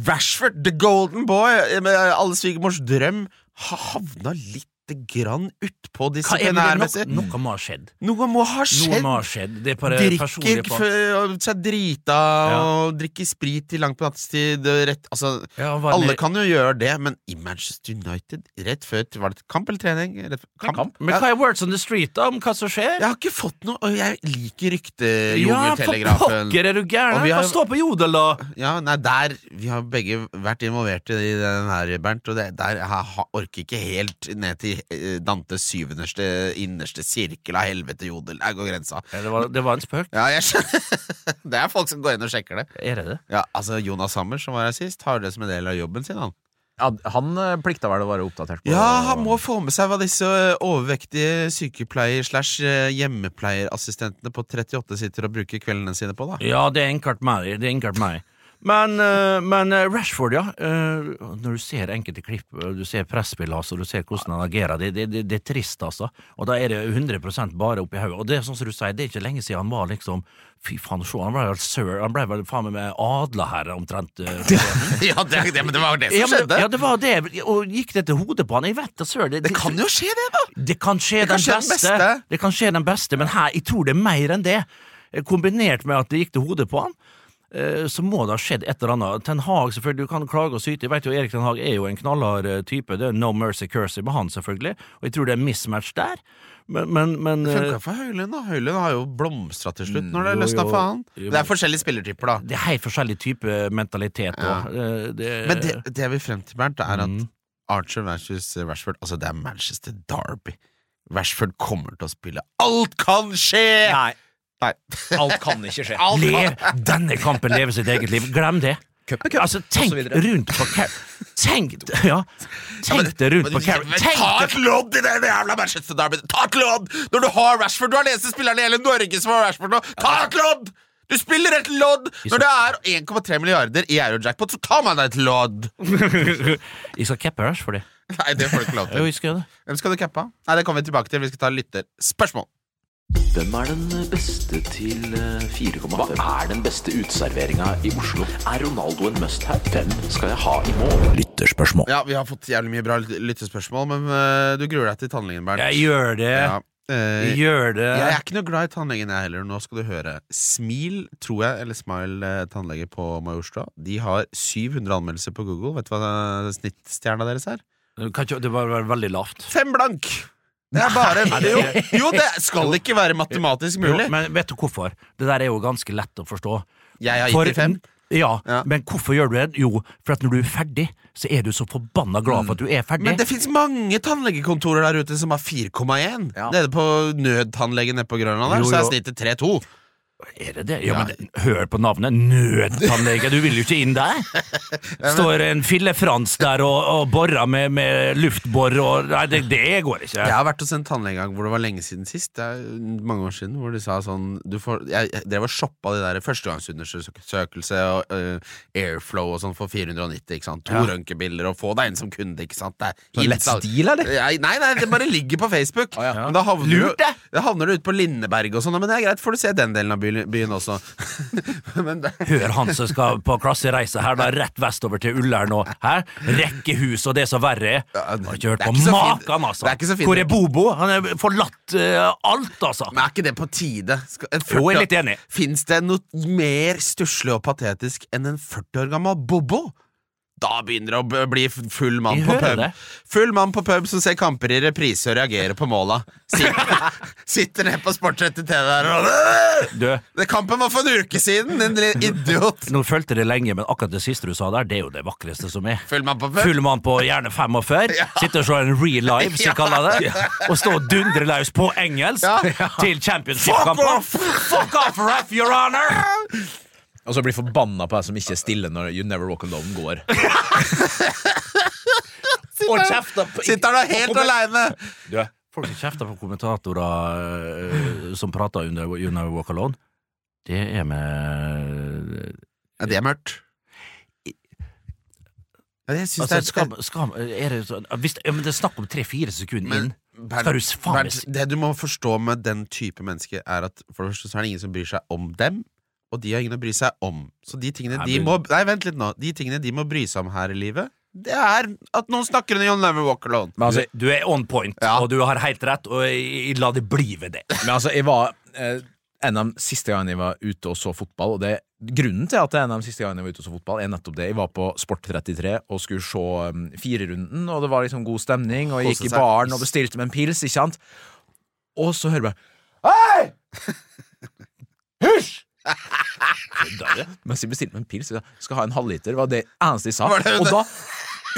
Speaker 2: Rashford, the golden boy, eh, med alle svigermors drøm, har havna lite grann utpå
Speaker 3: Hva er det?
Speaker 2: disiplinærmessig.
Speaker 3: Noe, noe må ha skjedd.
Speaker 2: Noe må ha
Speaker 3: Noe må ha
Speaker 2: skjedd.
Speaker 3: skjedd. Det er bare personlig
Speaker 2: Drikker
Speaker 3: på-
Speaker 2: f- og seg drita og drikker sprit til langt på nattestid. og Rett, altså,
Speaker 3: Ja, han var
Speaker 2: alle
Speaker 3: ned-
Speaker 2: kan jo gjøre det, men i Manchester United rett før Var det kamp eller trening? Rett, før-
Speaker 4: Kamp.
Speaker 3: Men hva er words on the street da, om hva som skjer?
Speaker 2: Jeg har ikke fått noe, og jeg liker
Speaker 3: Ja, for
Speaker 2: ryktejungeltelegrafen.
Speaker 3: pokker, er du gæren?
Speaker 2: Og vi
Speaker 3: Hva
Speaker 2: har-
Speaker 3: står på Jodel, da?
Speaker 2: Ja, nei, der Vi har begge vært involvert i den her, Bernt, og det, der jeg ha- orker ikke helt ned til eh, Dantes syvenderste innerste sirkel av helvete jodel. Der går grensa.
Speaker 3: Ja, Det var, det var en spøk.
Speaker 2: Ja, jeg skjønner. Det er folk som går inn og sjekker det.
Speaker 3: Er det det?
Speaker 2: Ja, altså Jonas Hammer, som var her sist, har det som en del av jobben sin, han.
Speaker 4: Ja, han eh, plikta vel å være oppdatert på
Speaker 2: Ja, han må få med seg hva disse ø, overvektige sykepleier-slash-hjemmepleierassistentene på 38 sitter og bruker kveldene sine på, da.
Speaker 3: Ja, det er enkelt meg. Det er enkelt meg. Men, eh, men eh, Rashford, ja. eh, Når du ser enkelte klipp, og du ser presspillet hans, og du ser hvordan han agerer, det, det, det, det er trist, altså. Og da er det 100 bare oppi hodet. Og det er sånn som du sier, det er ikke lenge siden han var liksom Fy faen, se, han ble vel sir. Han ble vel faen meg adla her, omtrent. eh,
Speaker 2: ja, det, er- det, men det var jo det
Speaker 3: Ja,
Speaker 2: som
Speaker 3: men,
Speaker 2: skjedde.
Speaker 3: ja, det var det. Og gikk det til hodet på han? Jeg vet da søren. Det,
Speaker 2: Det kan jo skje, det, da!
Speaker 3: Det kan skje,
Speaker 2: Det kan
Speaker 3: den,
Speaker 2: skje den
Speaker 3: beste.
Speaker 2: beste.
Speaker 3: Det kan skje den beste, men her, jeg tror det er mer enn det. Eh, Kombinert med at det gikk til hodet på han, eh, så må det ha skjedd et eller annet. Ten Hag, selvfølgelig, du kan klage og syte. Jeg vet jo Erik Ten Hag er jo en knallhard eh, type. Det er no mercy cursy med han, selvfølgelig. Og jeg tror det er mismatch der. Men, men, men
Speaker 2: Det
Speaker 3: eh, Mm,
Speaker 2: funka for Høylund, da. Høylund har jo blomstra til slutt når det
Speaker 3: jo,
Speaker 2: løsna
Speaker 3: jo.
Speaker 2: for han.
Speaker 3: Jo,
Speaker 2: Det
Speaker 3: men-
Speaker 2: er forskjellige spillertyper, da.
Speaker 3: eh, det er helt forskjellig type mentalitet. og, eh, det-
Speaker 2: Men det, det jeg vil frem til, Bernt, er
Speaker 3: Mm.
Speaker 2: at Archer versus Rashford Altså, det er Manchester Derby. Rashford kommer til å spille Alt kan skje!
Speaker 4: Nei,
Speaker 2: Nei.
Speaker 4: alt kan ikke skje.
Speaker 2: Alt kan-
Speaker 3: Ler denne kampen leve sitt eget liv. Glem det. Altså,
Speaker 4: og
Speaker 3: tenk
Speaker 4: så videre.
Speaker 3: rundt på Car... Tenk, ja, tenk det rundt på Car...
Speaker 2: Men
Speaker 3: Tenk
Speaker 2: ta
Speaker 3: det
Speaker 2: et lodd i det jævla Manchester Derby! Ta et lodd! Når du har Rashford Du har den eneste spilleren i hele Norge som har Rashford nå! Ta et lodd! Du spiller et lodd! Når det er 1,3 milliarder i Eurojackpot, så tar man deg et lodd!
Speaker 3: Jeg skal cappe Rush for det.
Speaker 2: Nei, det får du ikke lov
Speaker 3: Jo,
Speaker 2: til.
Speaker 3: jeg skal gjøre det.
Speaker 2: Hvem skal du cappe? Nei, det kommer vi tilbake til. Vi skal ta lytterspørsmål.
Speaker 1: Hvem er den beste til eh, 4,5? Hva er den beste uteserveringa i Oslo? Er Ronaldo en must-have? Hvem skal jeg ha i mål?
Speaker 4: Lytterspørsmål.
Speaker 2: Ja, vi har fått jævlig mye bra lyt- lyttespørsmål, men øh, du gruer deg til tannlegen, Bernt.
Speaker 3: Jeg gjør det.
Speaker 2: Ja, øh,
Speaker 3: Jeg gjør det.
Speaker 2: jeg er ikke noe glad i tannlegen jeg heller. Nå skal du høre. Smil, tror jeg, eller Smile eh, tannlege på Majorstua, de har 700 anmeldelser på Google. Vet du hva eh, snittstjerna deres er?
Speaker 3: Du kan ikke- Det var var veldig lavt.
Speaker 2: Fem blank! Det er bare jo, jo, det skal ikke være matematisk mulig.
Speaker 3: Jo, men vet du hvorfor? Det der er jo ganske lett å forstå.
Speaker 2: Jeg har
Speaker 3: For-
Speaker 2: gitt de fem.
Speaker 3: Ja,
Speaker 2: Ja.
Speaker 3: men hvorfor gjør du det? Jo, for at når du er ferdig, så er du så forbanna glad for at du er ferdig.
Speaker 2: Men det fins mange tannlegekontorer der ute som har 4,1.
Speaker 4: Ja.
Speaker 2: Nede på nødtannlegen nede på Grønland der,
Speaker 3: Jo,
Speaker 2: så er
Speaker 3: jo.
Speaker 2: snittet 3,2.
Speaker 3: Er det det? Ja, men det- hør på navnet. Nødtannlege, du vil jo ikke inn der! Står en Fille Frans der og, og borer med, med luftbor og Nei, det, det går ikke.
Speaker 2: Jeg har vært hos en tannlege en gang hvor det var lenge siden sist. Det er mange år siden Hvor de sa sånn du får, Jeg jeg drev og shoppa de der førstegangsundersøkelse og øh, airflow og sånn for 490. ikke sant? To
Speaker 3: Ja.
Speaker 2: røntgenbilder og få deg inn som kunde. ikke sant? Det er
Speaker 4: Sånn lett
Speaker 2: helt-
Speaker 4: stil, eller?
Speaker 2: Jeg- Nei, nei, det bare ligger på Facebook.
Speaker 4: ja.
Speaker 2: Men da havner du-
Speaker 3: Lurt, det.
Speaker 2: Da havner du ute på Lindeberg og sånn. Men det er greit, får du se den delen av byen, byen også. men det,
Speaker 3: Hør han som skal på klassereise her, da, rett vestover til Ullern og her. Rekkehus og det som verre er. Har ikke hørt
Speaker 2: det er
Speaker 3: på
Speaker 2: ikke så fint.
Speaker 3: maken, altså!
Speaker 2: Det er ikke så fint.
Speaker 3: Hvor er Bobo? Han er forlatt eh, alt, altså!
Speaker 2: Men er ikke det på tide? Skal, en
Speaker 3: Jo, jeg er litt enig.
Speaker 2: Fins det noe mer stusslig og patetisk enn en 40 år gammel Bobo? da begynner det å b- bli f- full mann
Speaker 3: Jeg
Speaker 2: på
Speaker 3: hører
Speaker 2: pub.
Speaker 3: det.
Speaker 2: Full mann på pub som ser kamper i reprise og reagerer på måla. Sitter, sitter ned på sportsrettet TV der og
Speaker 3: Du,
Speaker 2: det, Kampen var for en uke siden, din lille idiot!
Speaker 3: nå fulgte det lenge, men akkurat det siste du sa der, det er jo det vakreste som er.
Speaker 2: Full mann på pub.
Speaker 3: Full mann på gjerne 45, sitter og slår en real live, som de kaller det, og står og dundrer løs på engelsk
Speaker 2: Ja.
Speaker 3: til championship-kampen. Fuck off, ref, your honor!
Speaker 4: Og så blir forbanna på deg som ikke er stille når You Never Walk Alone går. og kjefta på
Speaker 2: Sitter han da helt aleine!
Speaker 3: Du, folk som kjefter på kommentatorer eh, som prater under You Never Walk Alone, det er med
Speaker 2: Ja, det er mørkt. Ja, jeg synes
Speaker 3: Altså,
Speaker 2: det er
Speaker 3: skal, skal, er det, sånn- hvis, ja, men det er snakk om tre-fire sekunder
Speaker 2: Men,
Speaker 3: inn.
Speaker 2: Bernt-
Speaker 3: Skal du s- faen meg
Speaker 2: Bernt,
Speaker 3: si-
Speaker 2: det du må forstå med den type mennesker, er at for det første så er det ingen som bryr seg om dem, og de har ingen å bry seg om. Så de tingene
Speaker 3: Nei,
Speaker 2: de
Speaker 3: men-
Speaker 2: må Nei, vent litt nå. De tingene de må bry seg om her i livet, det er at noen snakker under John Never Walk Alone.
Speaker 4: Men altså,
Speaker 3: Du er on point,
Speaker 2: Ja.
Speaker 3: og du har helt rett, og jeg, jeg la det bli ved det.
Speaker 4: Men altså, jeg var eh, en av de siste gangene jeg var ute og så fotball, og det, grunnen til at det er en av de siste gangene jeg var ute og så fotball, er nettopp det. Jeg var på Sport33 og skulle se um, firerunden, og det var liksom god stemning, og jeg
Speaker 2: Kose
Speaker 4: gikk i
Speaker 2: seg.
Speaker 4: baren og bestilte meg en pils, ikke sant? Og så hører jeg bare Hei! Hysj! Mens jeg bestilte meg en pils, jeg sa, skal ha en halvliter, var det eneste jeg sa.
Speaker 2: Var det-
Speaker 4: Og da,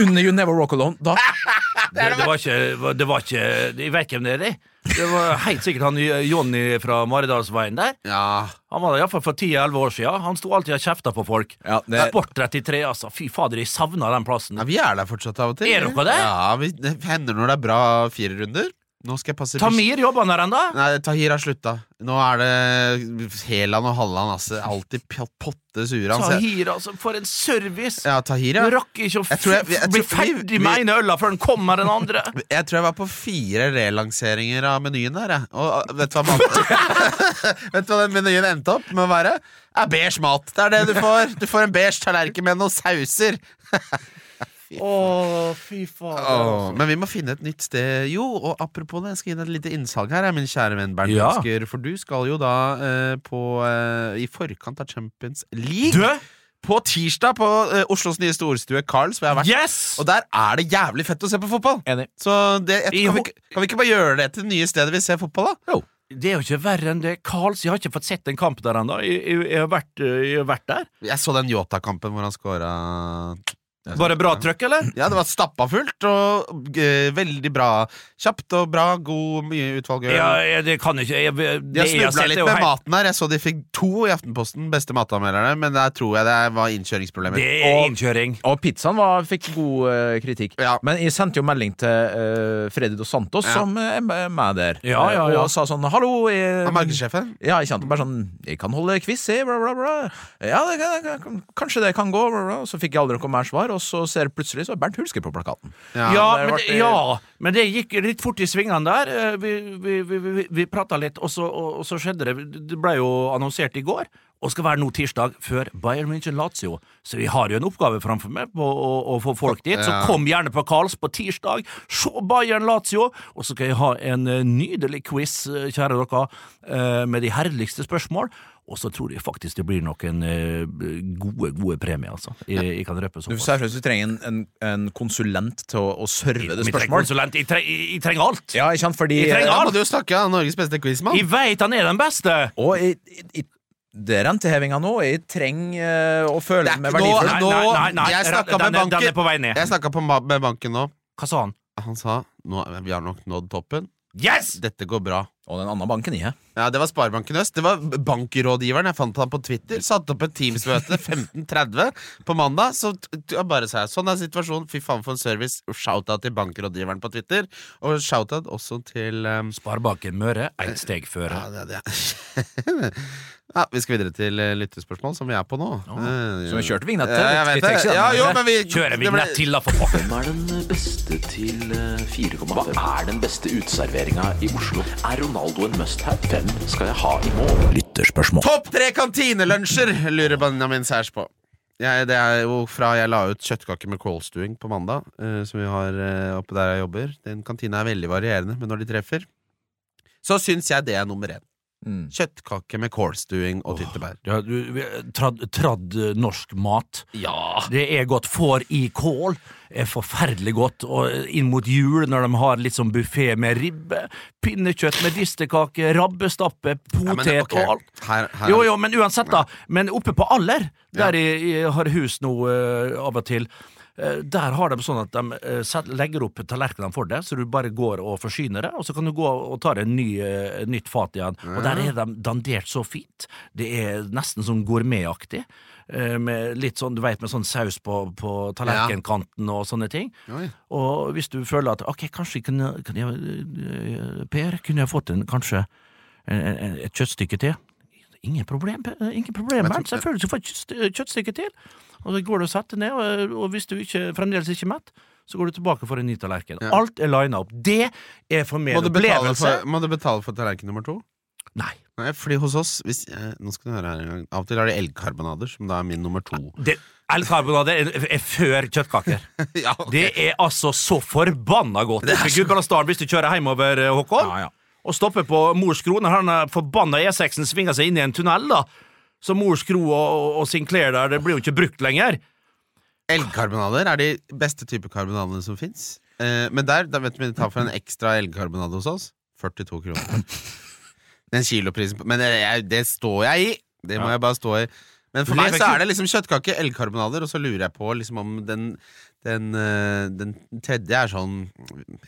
Speaker 4: under You Never Walk Alone, da
Speaker 3: Det, det var ikke Det var ikke Jeg vet hvem det er, jeg. Det var helt sikkert han Jonny fra Maridalsveien der.
Speaker 2: Ja.
Speaker 3: Han var der iallfall for 10-11 år siden. Han sto alltid og kjefta på folk.
Speaker 4: Ja, det-
Speaker 3: Sport 33, altså. Fy fader, jeg savna den plassen.
Speaker 2: ja, vi er der fortsatt av og til.
Speaker 3: Er dere det?
Speaker 2: Ja, vi, det hender når det er bra firerunder. Nå skal jeg passe
Speaker 3: Tamir jobba der ennå?
Speaker 2: Nei, Tahir har slutta. Nå er det Heland og Halland, altså. Alltid p- potte sure. Han ser-
Speaker 3: Tahir, altså. For en service!
Speaker 2: Ja, Tahir,
Speaker 3: Du
Speaker 2: ja.
Speaker 3: rakk ikke å
Speaker 2: Jeg tror jeg-
Speaker 3: f-
Speaker 2: jeg tror
Speaker 3: bli
Speaker 2: vi- vi-
Speaker 3: ferdig med ene øla før den kom med den andre.
Speaker 2: Jeg tror jeg var på fire relanseringer av menyen der, jeg. Og uh, vet du hva, mat... vet du hva den menyen endte opp med å være? Det er beige mat. Det er det du får. Du får en beige tallerken med noen sauser.
Speaker 3: Å, fy fader.
Speaker 2: Åh, men vi må finne et nytt sted. Jo, og apropos det, jeg skal gi deg et lite innsalg her, jeg, min kjære venn Bernt
Speaker 3: Ja.
Speaker 2: Øsker. For du skal jo da eh, på eh, I forkant av Champions League.
Speaker 3: Du,
Speaker 2: På tirsdag på eh, Oslos nye storstue Carls, hvor jeg har vært.
Speaker 3: yes!
Speaker 2: Og der er det jævlig fett å se på fotball!
Speaker 4: Enig.
Speaker 2: Så det, jeg,
Speaker 3: I
Speaker 2: kan, vi,
Speaker 3: ho-
Speaker 2: ikke- kan vi ikke bare gjøre det til det nye stedet vi ser fotball, da? Jo.
Speaker 3: Det er jo ikke verre enn det. Karls, jeg har ikke fått sett en kamp der ennå. Jeg, jeg, jeg, har vært- eh, jeg har vært der.
Speaker 2: Jeg så den Yota-kampen hvor han scora
Speaker 3: Var det bra trøkk, eller?
Speaker 2: Ja, det var stappa fullt, og eh, veldig bra. Kjapt og bra, god, mye utvalg.
Speaker 3: Ja, jeg, det kan ikke jeg, jeg,
Speaker 2: De
Speaker 3: det
Speaker 2: har
Speaker 3: jeg
Speaker 2: snubla
Speaker 3: har sett,
Speaker 2: litt
Speaker 3: er jo
Speaker 2: med
Speaker 3: helt
Speaker 2: maten her. Jeg så de fikk to i Aftenposten, beste matanmelderne, men der tror jeg det var innkjøringsproblemer.
Speaker 3: Det er innkjøring.
Speaker 4: Og pizzaen var, fikk god eh, kritikk.
Speaker 2: Ja.
Speaker 4: Men jeg sendte jo melding til eh, Freddy Dos Santos,
Speaker 2: Ja.
Speaker 4: som eh, er med- med der,
Speaker 3: Ja, ja, ja.
Speaker 4: og sa sånn 'hallo'. Jeg,
Speaker 2: Og markedssjefen?
Speaker 4: ja, ikke sant. Bare sånn 'jeg kan holde quiz, jeg', bla, bla, bla. Ja, det kan, kan- kanskje det kan gå, bla, bla. Og så fikk jeg aldri noe mer svar, og så ser jeg plutselig så er Bernt Hulsker på plakaten.
Speaker 2: Ja.
Speaker 3: Ja,
Speaker 4: det
Speaker 3: men
Speaker 4: ble-
Speaker 3: det, ja, men det gikk litt fort i svingene der. Eh, Vi, vi, vi, vi, vi prata litt, og så, og, og så skjedde det. Det ble jo annonsert i går, og skal være nå tirsdag før Bayern München Lazio. Så vi har jo en oppgave framfor meg på å, å få folk dit. Så kom gjerne på Karls på tirsdag, se Bayern Lazio, og så skal jeg ha en eh, nydelig quiz, eh, kjære dere, eh, med de herligste spørsmål. Og så tror jeg faktisk det blir noen eh, gode, gode premier, altså. Jeg, jeg kan røpe
Speaker 4: Du
Speaker 3: såpass.
Speaker 4: sa først du trenger en, en, en konsulent til å, å serve det
Speaker 3: Vi trenger
Speaker 4: spørsmål.
Speaker 3: konsulent. Jeg, tre jeg, jeg trenger alt.
Speaker 4: Ja, ikke sant, fordi eh,
Speaker 3: Vi trenger
Speaker 2: Da
Speaker 3: alt.
Speaker 2: må du jo snakke av Norges beste quizmann.
Speaker 3: Jeg veit han er den beste!
Speaker 4: Og i, i, i, det er rentehevinga nå, og jeg trenger eh, å føle
Speaker 2: Det er
Speaker 4: meg
Speaker 2: ikke
Speaker 4: verdifull.
Speaker 2: noe-
Speaker 3: Nei,
Speaker 2: nå-
Speaker 3: nei, nei, nei.
Speaker 2: jeg snakket
Speaker 3: Den
Speaker 2: med
Speaker 3: er- Den
Speaker 2: banken.
Speaker 3: er på vei ned.
Speaker 2: Jeg snakka på ma- med banken nå.
Speaker 3: Hva sa han?
Speaker 2: Han sa nå, vi har nok nådd toppen.
Speaker 3: Yes!
Speaker 2: Dette går bra.
Speaker 4: Og den andre banken i jeg.
Speaker 2: Ja, Det var Sparebanken Øst. Det var bankrådgiveren. Jeg fant han på Twitter. Satte opp et Teams-møte 15.30 på mandag. Så t- t- bare sa jeg sånn er situasjonen. Fy faen for en service. Shout-out til bankrådgiveren på Twitter. Og shout-out også til um,
Speaker 3: Sparebanken Møre, ett steg før.
Speaker 2: ja, det, det. ja, Vi skal videre til eh, lyttespørsmål, som vi er på nå. Eh,
Speaker 4: Som vi kjørte vignett til.
Speaker 2: ja, jeg
Speaker 4: Vi
Speaker 2: vet
Speaker 4: trenger
Speaker 2: det.
Speaker 4: ikke den,
Speaker 2: Ja, jo,
Speaker 4: men-
Speaker 2: men vi
Speaker 3: Kjører vi
Speaker 2: det ble-
Speaker 3: nett til, da, for faen?
Speaker 1: Hvem er den beste til eh, 4,5? Hva er den beste uteserveringa i Oslo? Er Ronaldo en must-have? Hvem skal jeg ha i mål?
Speaker 4: lytterspørsmål.
Speaker 2: Topp tre kantinelunsjer, lurer Benjamin Særs på. Jeg, det er jo fra jeg la ut kjøttkaker med kålstuing på mandag, eh, som vi har eh, oppe der jeg jobber. Den kantina er veldig varierende, men når de treffer, så syns jeg det er nummer én.
Speaker 4: Mm.
Speaker 2: Kjøttkake med kålstuing og tyttebær.
Speaker 3: Ja, du, vi- trad, tradd eh, norsk mat.
Speaker 5: Ja.
Speaker 3: Det er godt. Får i kål er forferdelig godt. Og eh, inn mot jul, når de har litt sånn buffé med ribbe, pinnekjøtt med distekake, rabbestappe,
Speaker 2: Ja, men,
Speaker 3: potet
Speaker 2: ok,
Speaker 3: og alt.
Speaker 2: Her, her,
Speaker 3: Jo, jo, men uansett, da. Men oppe på Aller, der jeg, jeg har hus nå eh, av og til, eh, der har de sånn at de eh, set- legger opp tallerkenene for deg, så du bare går og forsyner deg, og så kan du gå og ta deg en ny, eh, nytt fat igjen. Og der er de dandert så fint. Det er nesten sånn gourmetaktig. eh, Med litt sånn, du vet, med sånn saus på, på tallerkenkanten og sånne ting.
Speaker 2: Oi.
Speaker 3: Og hvis du føler at Ok, kanskje kunne, kunne jeg, eh, Per, kunne jeg fått en, kanskje en- en- et kjøttstykke til? Ingen problem, Per. eh, ingen problem
Speaker 2: Men
Speaker 3: Bernt.
Speaker 2: tror-
Speaker 3: Selvfølgelig skal du få et kjøttst- kjøttstykke til. Og så går du og setter ned, og, og hvis du ikke, fremdeles ikke er mett, så går du tilbake for en ny tallerken.
Speaker 2: Ja.
Speaker 3: Alt er lina opp. Det er for meg
Speaker 2: må,
Speaker 3: en
Speaker 2: du betale
Speaker 3: opplevelse.
Speaker 2: for, må du betale for tallerken nummer to?
Speaker 3: Nei.
Speaker 2: Nei, fordi hos oss hvis, eh, Nå skal du høre her en gang Av og til er det elgkarbonader, som da er min nummer to.
Speaker 3: Det, all karbonade er, er før kjøttkaker.
Speaker 2: ja, ok.
Speaker 3: Det er altså så forbanna godt. Oppe i Gudbrandsdalen hvis du kjører hjemover, eh, Håkon,
Speaker 4: Ja, ja.
Speaker 3: og stopper på Mors Kro når han forbanna E6-en svinger seg inn i en tunnel, da. Så Mors Kro og, og Sinclair der, det blir jo ikke brukt lenger.
Speaker 2: Elgkarbonader er de beste type karbonader som fins. Eh, men der, da vet du, vi tar for en ekstra elgkarbonade hos oss 42 kroner. Den kiloprisen på- Men det, jeg, det står jeg i! Det må jeg bare stå i. Men for meg
Speaker 3: lever
Speaker 2: så
Speaker 3: ikke-
Speaker 2: er det liksom kjøttkake, elgkarbonader, og så lurer jeg på liksom om den den, eh, den tredje er sånn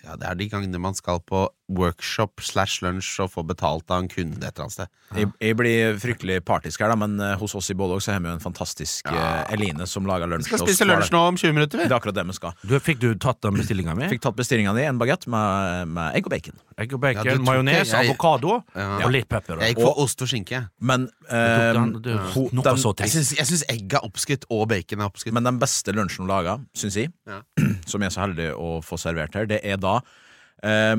Speaker 2: Ja, det er de gangene man skal på workshop slash lunsj og få betalt av en kunde et eller annet sted.
Speaker 4: Jeg, jeg blir fryktelig partisk her, da, men eh, hos oss i Bålåg så har vi jo en fantastisk
Speaker 2: Ja.
Speaker 4: eh, Eline som lager lunsj.
Speaker 2: Vi skal
Speaker 4: til oss
Speaker 2: spise
Speaker 4: hver
Speaker 2: lunsj
Speaker 4: dag.
Speaker 2: nå om 20 minutter,
Speaker 4: Det
Speaker 2: vi.
Speaker 4: er akkurat det vi skal.
Speaker 3: Du, fikk du tatt den bestillinga mi?
Speaker 4: Fikk tatt bestillinga di, en bagett med, med egg og bacon.
Speaker 3: Egg og
Speaker 2: Ja, du
Speaker 3: bacon,
Speaker 2: tok
Speaker 3: majones,
Speaker 2: det. Jeg-
Speaker 3: avokado
Speaker 2: Ja.
Speaker 3: og litt pepper.
Speaker 2: Jeg gikk for ost og skinke. jeg.
Speaker 4: Men, eh,
Speaker 3: den- det er
Speaker 4: ho-
Speaker 3: noe
Speaker 4: den-
Speaker 3: så
Speaker 2: Jeg syns, jeg syns egg er oppskrytt, og bacon er oppskrytt.
Speaker 4: men den beste lunsjen hun lager, syns jeg,
Speaker 2: Ja.
Speaker 4: som jeg er så heldig å få servert her, det er da eh,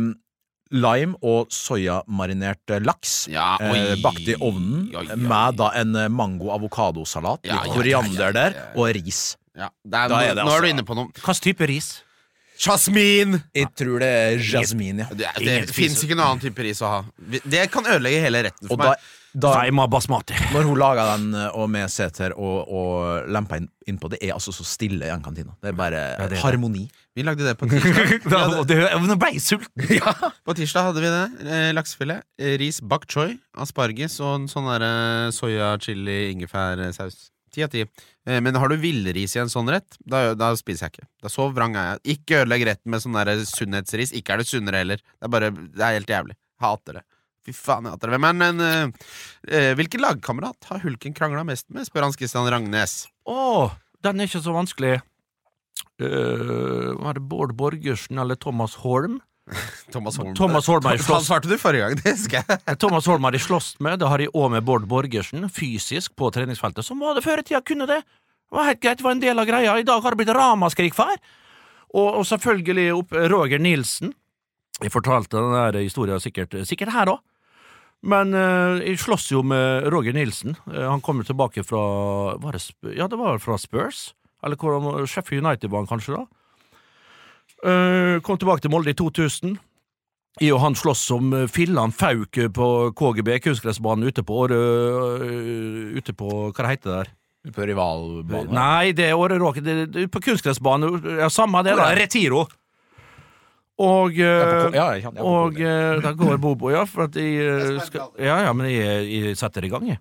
Speaker 4: lime og soyamarinert eh, laks.
Speaker 2: Ja,
Speaker 4: eh,
Speaker 2: oi.
Speaker 4: Bakt i ovnen
Speaker 2: Oi, oi.
Speaker 4: med da en eh, mango-avokadosalat,
Speaker 2: Ja,
Speaker 4: litt
Speaker 2: ja,
Speaker 4: koriander
Speaker 2: ja, ja, ja,
Speaker 4: der,
Speaker 2: ja.
Speaker 4: og ris.
Speaker 2: Ja, det
Speaker 4: Da
Speaker 2: er, nå-
Speaker 4: er det
Speaker 2: nå er
Speaker 4: altså-
Speaker 2: du inne på noe.
Speaker 3: Hvilken type ris?
Speaker 2: Jasmin!
Speaker 4: Jeg tror det er jasmin, ja.
Speaker 2: Det, det
Speaker 3: Ingen spiser-
Speaker 2: fins ikke noen annen type ris å ha. Vi- Det kan ødelegge hele retten for
Speaker 4: Og da,
Speaker 2: meg.
Speaker 4: da
Speaker 3: Reima basmati.
Speaker 4: Når hun laga den eh, og med seter og, og lempa inn, innpå, det er altså så stille i den kantina. Det er bare
Speaker 3: det er det.
Speaker 4: harmoni.
Speaker 2: Vi lagde det på tirsdag. Vi
Speaker 3: Da,
Speaker 2: hadde,
Speaker 3: det, nå ble jeg sulten!
Speaker 2: på tirsdag hadde vi det. eh, Laksefilet, eh, ris, bak choy, asparges og en sånn derre soya, chili, ingefærsaus. Ti av ti. Eh, Men har du villris i en sånn rett, da, da spiser jeg ikke. Da så vrang er jeg. Ikke ødelegg retten med sånn derre sunnhetsris. Ikke er det sunnere heller. Det er bare Det er helt jævlig. Hater det. Fy faen, jeg hater det. Hvem er den eh, eh, Hvilken lagkamerat har Hulken krangla mest med? spør Hans Christian Rangnes.
Speaker 3: Å, den er ikke så vanskelig. Eh, var det Bård Borgersen eller Thomas Holm?
Speaker 2: Thomas Holm.
Speaker 3: Thomas Holm er i
Speaker 2: Han
Speaker 3: slåss.
Speaker 2: svarte du forrige gang, det husker jeg.
Speaker 3: Eh, Thomas Holm har de slåss med, det har de òg med Bård Borgersen, fysisk på treningsfeltet. Som var det før i tida, kunne det. Det var helt greit, det var en del av greia. I dag har det blitt ramaskrik, far. Og, og selvfølgelig opp Roger Nilsen. Jeg fortalte den der historien sikkert, sikkert her òg. Men eh, jeg slåss jo med Roger Nilsen. Eh, han kom jo tilbake fra var det, Sp- Ja, det var fra Spurs. Eller hvor han- Sheffield United var han kanskje, da. Eh, kom tilbake til Molde i 2000. I og han slåss som fillan fauk eh, på KGB, kunstgressbanen ute på Åre øh, Ute på Hva det heter det der?
Speaker 4: På rivalbanen.
Speaker 3: Nei, det er Åre Råker. Det, det, på kunstgressbanen. Ja, samme det, da. Retiro. Og
Speaker 4: Ja, på
Speaker 3: øh,
Speaker 4: Ko- ja, jeg kjenner- jeg på
Speaker 3: og
Speaker 4: Ko-
Speaker 3: eh, da går Bobo, ja. For at jeg, eh, skal, ja, ja, men jeg, jeg setter i gang, jeg.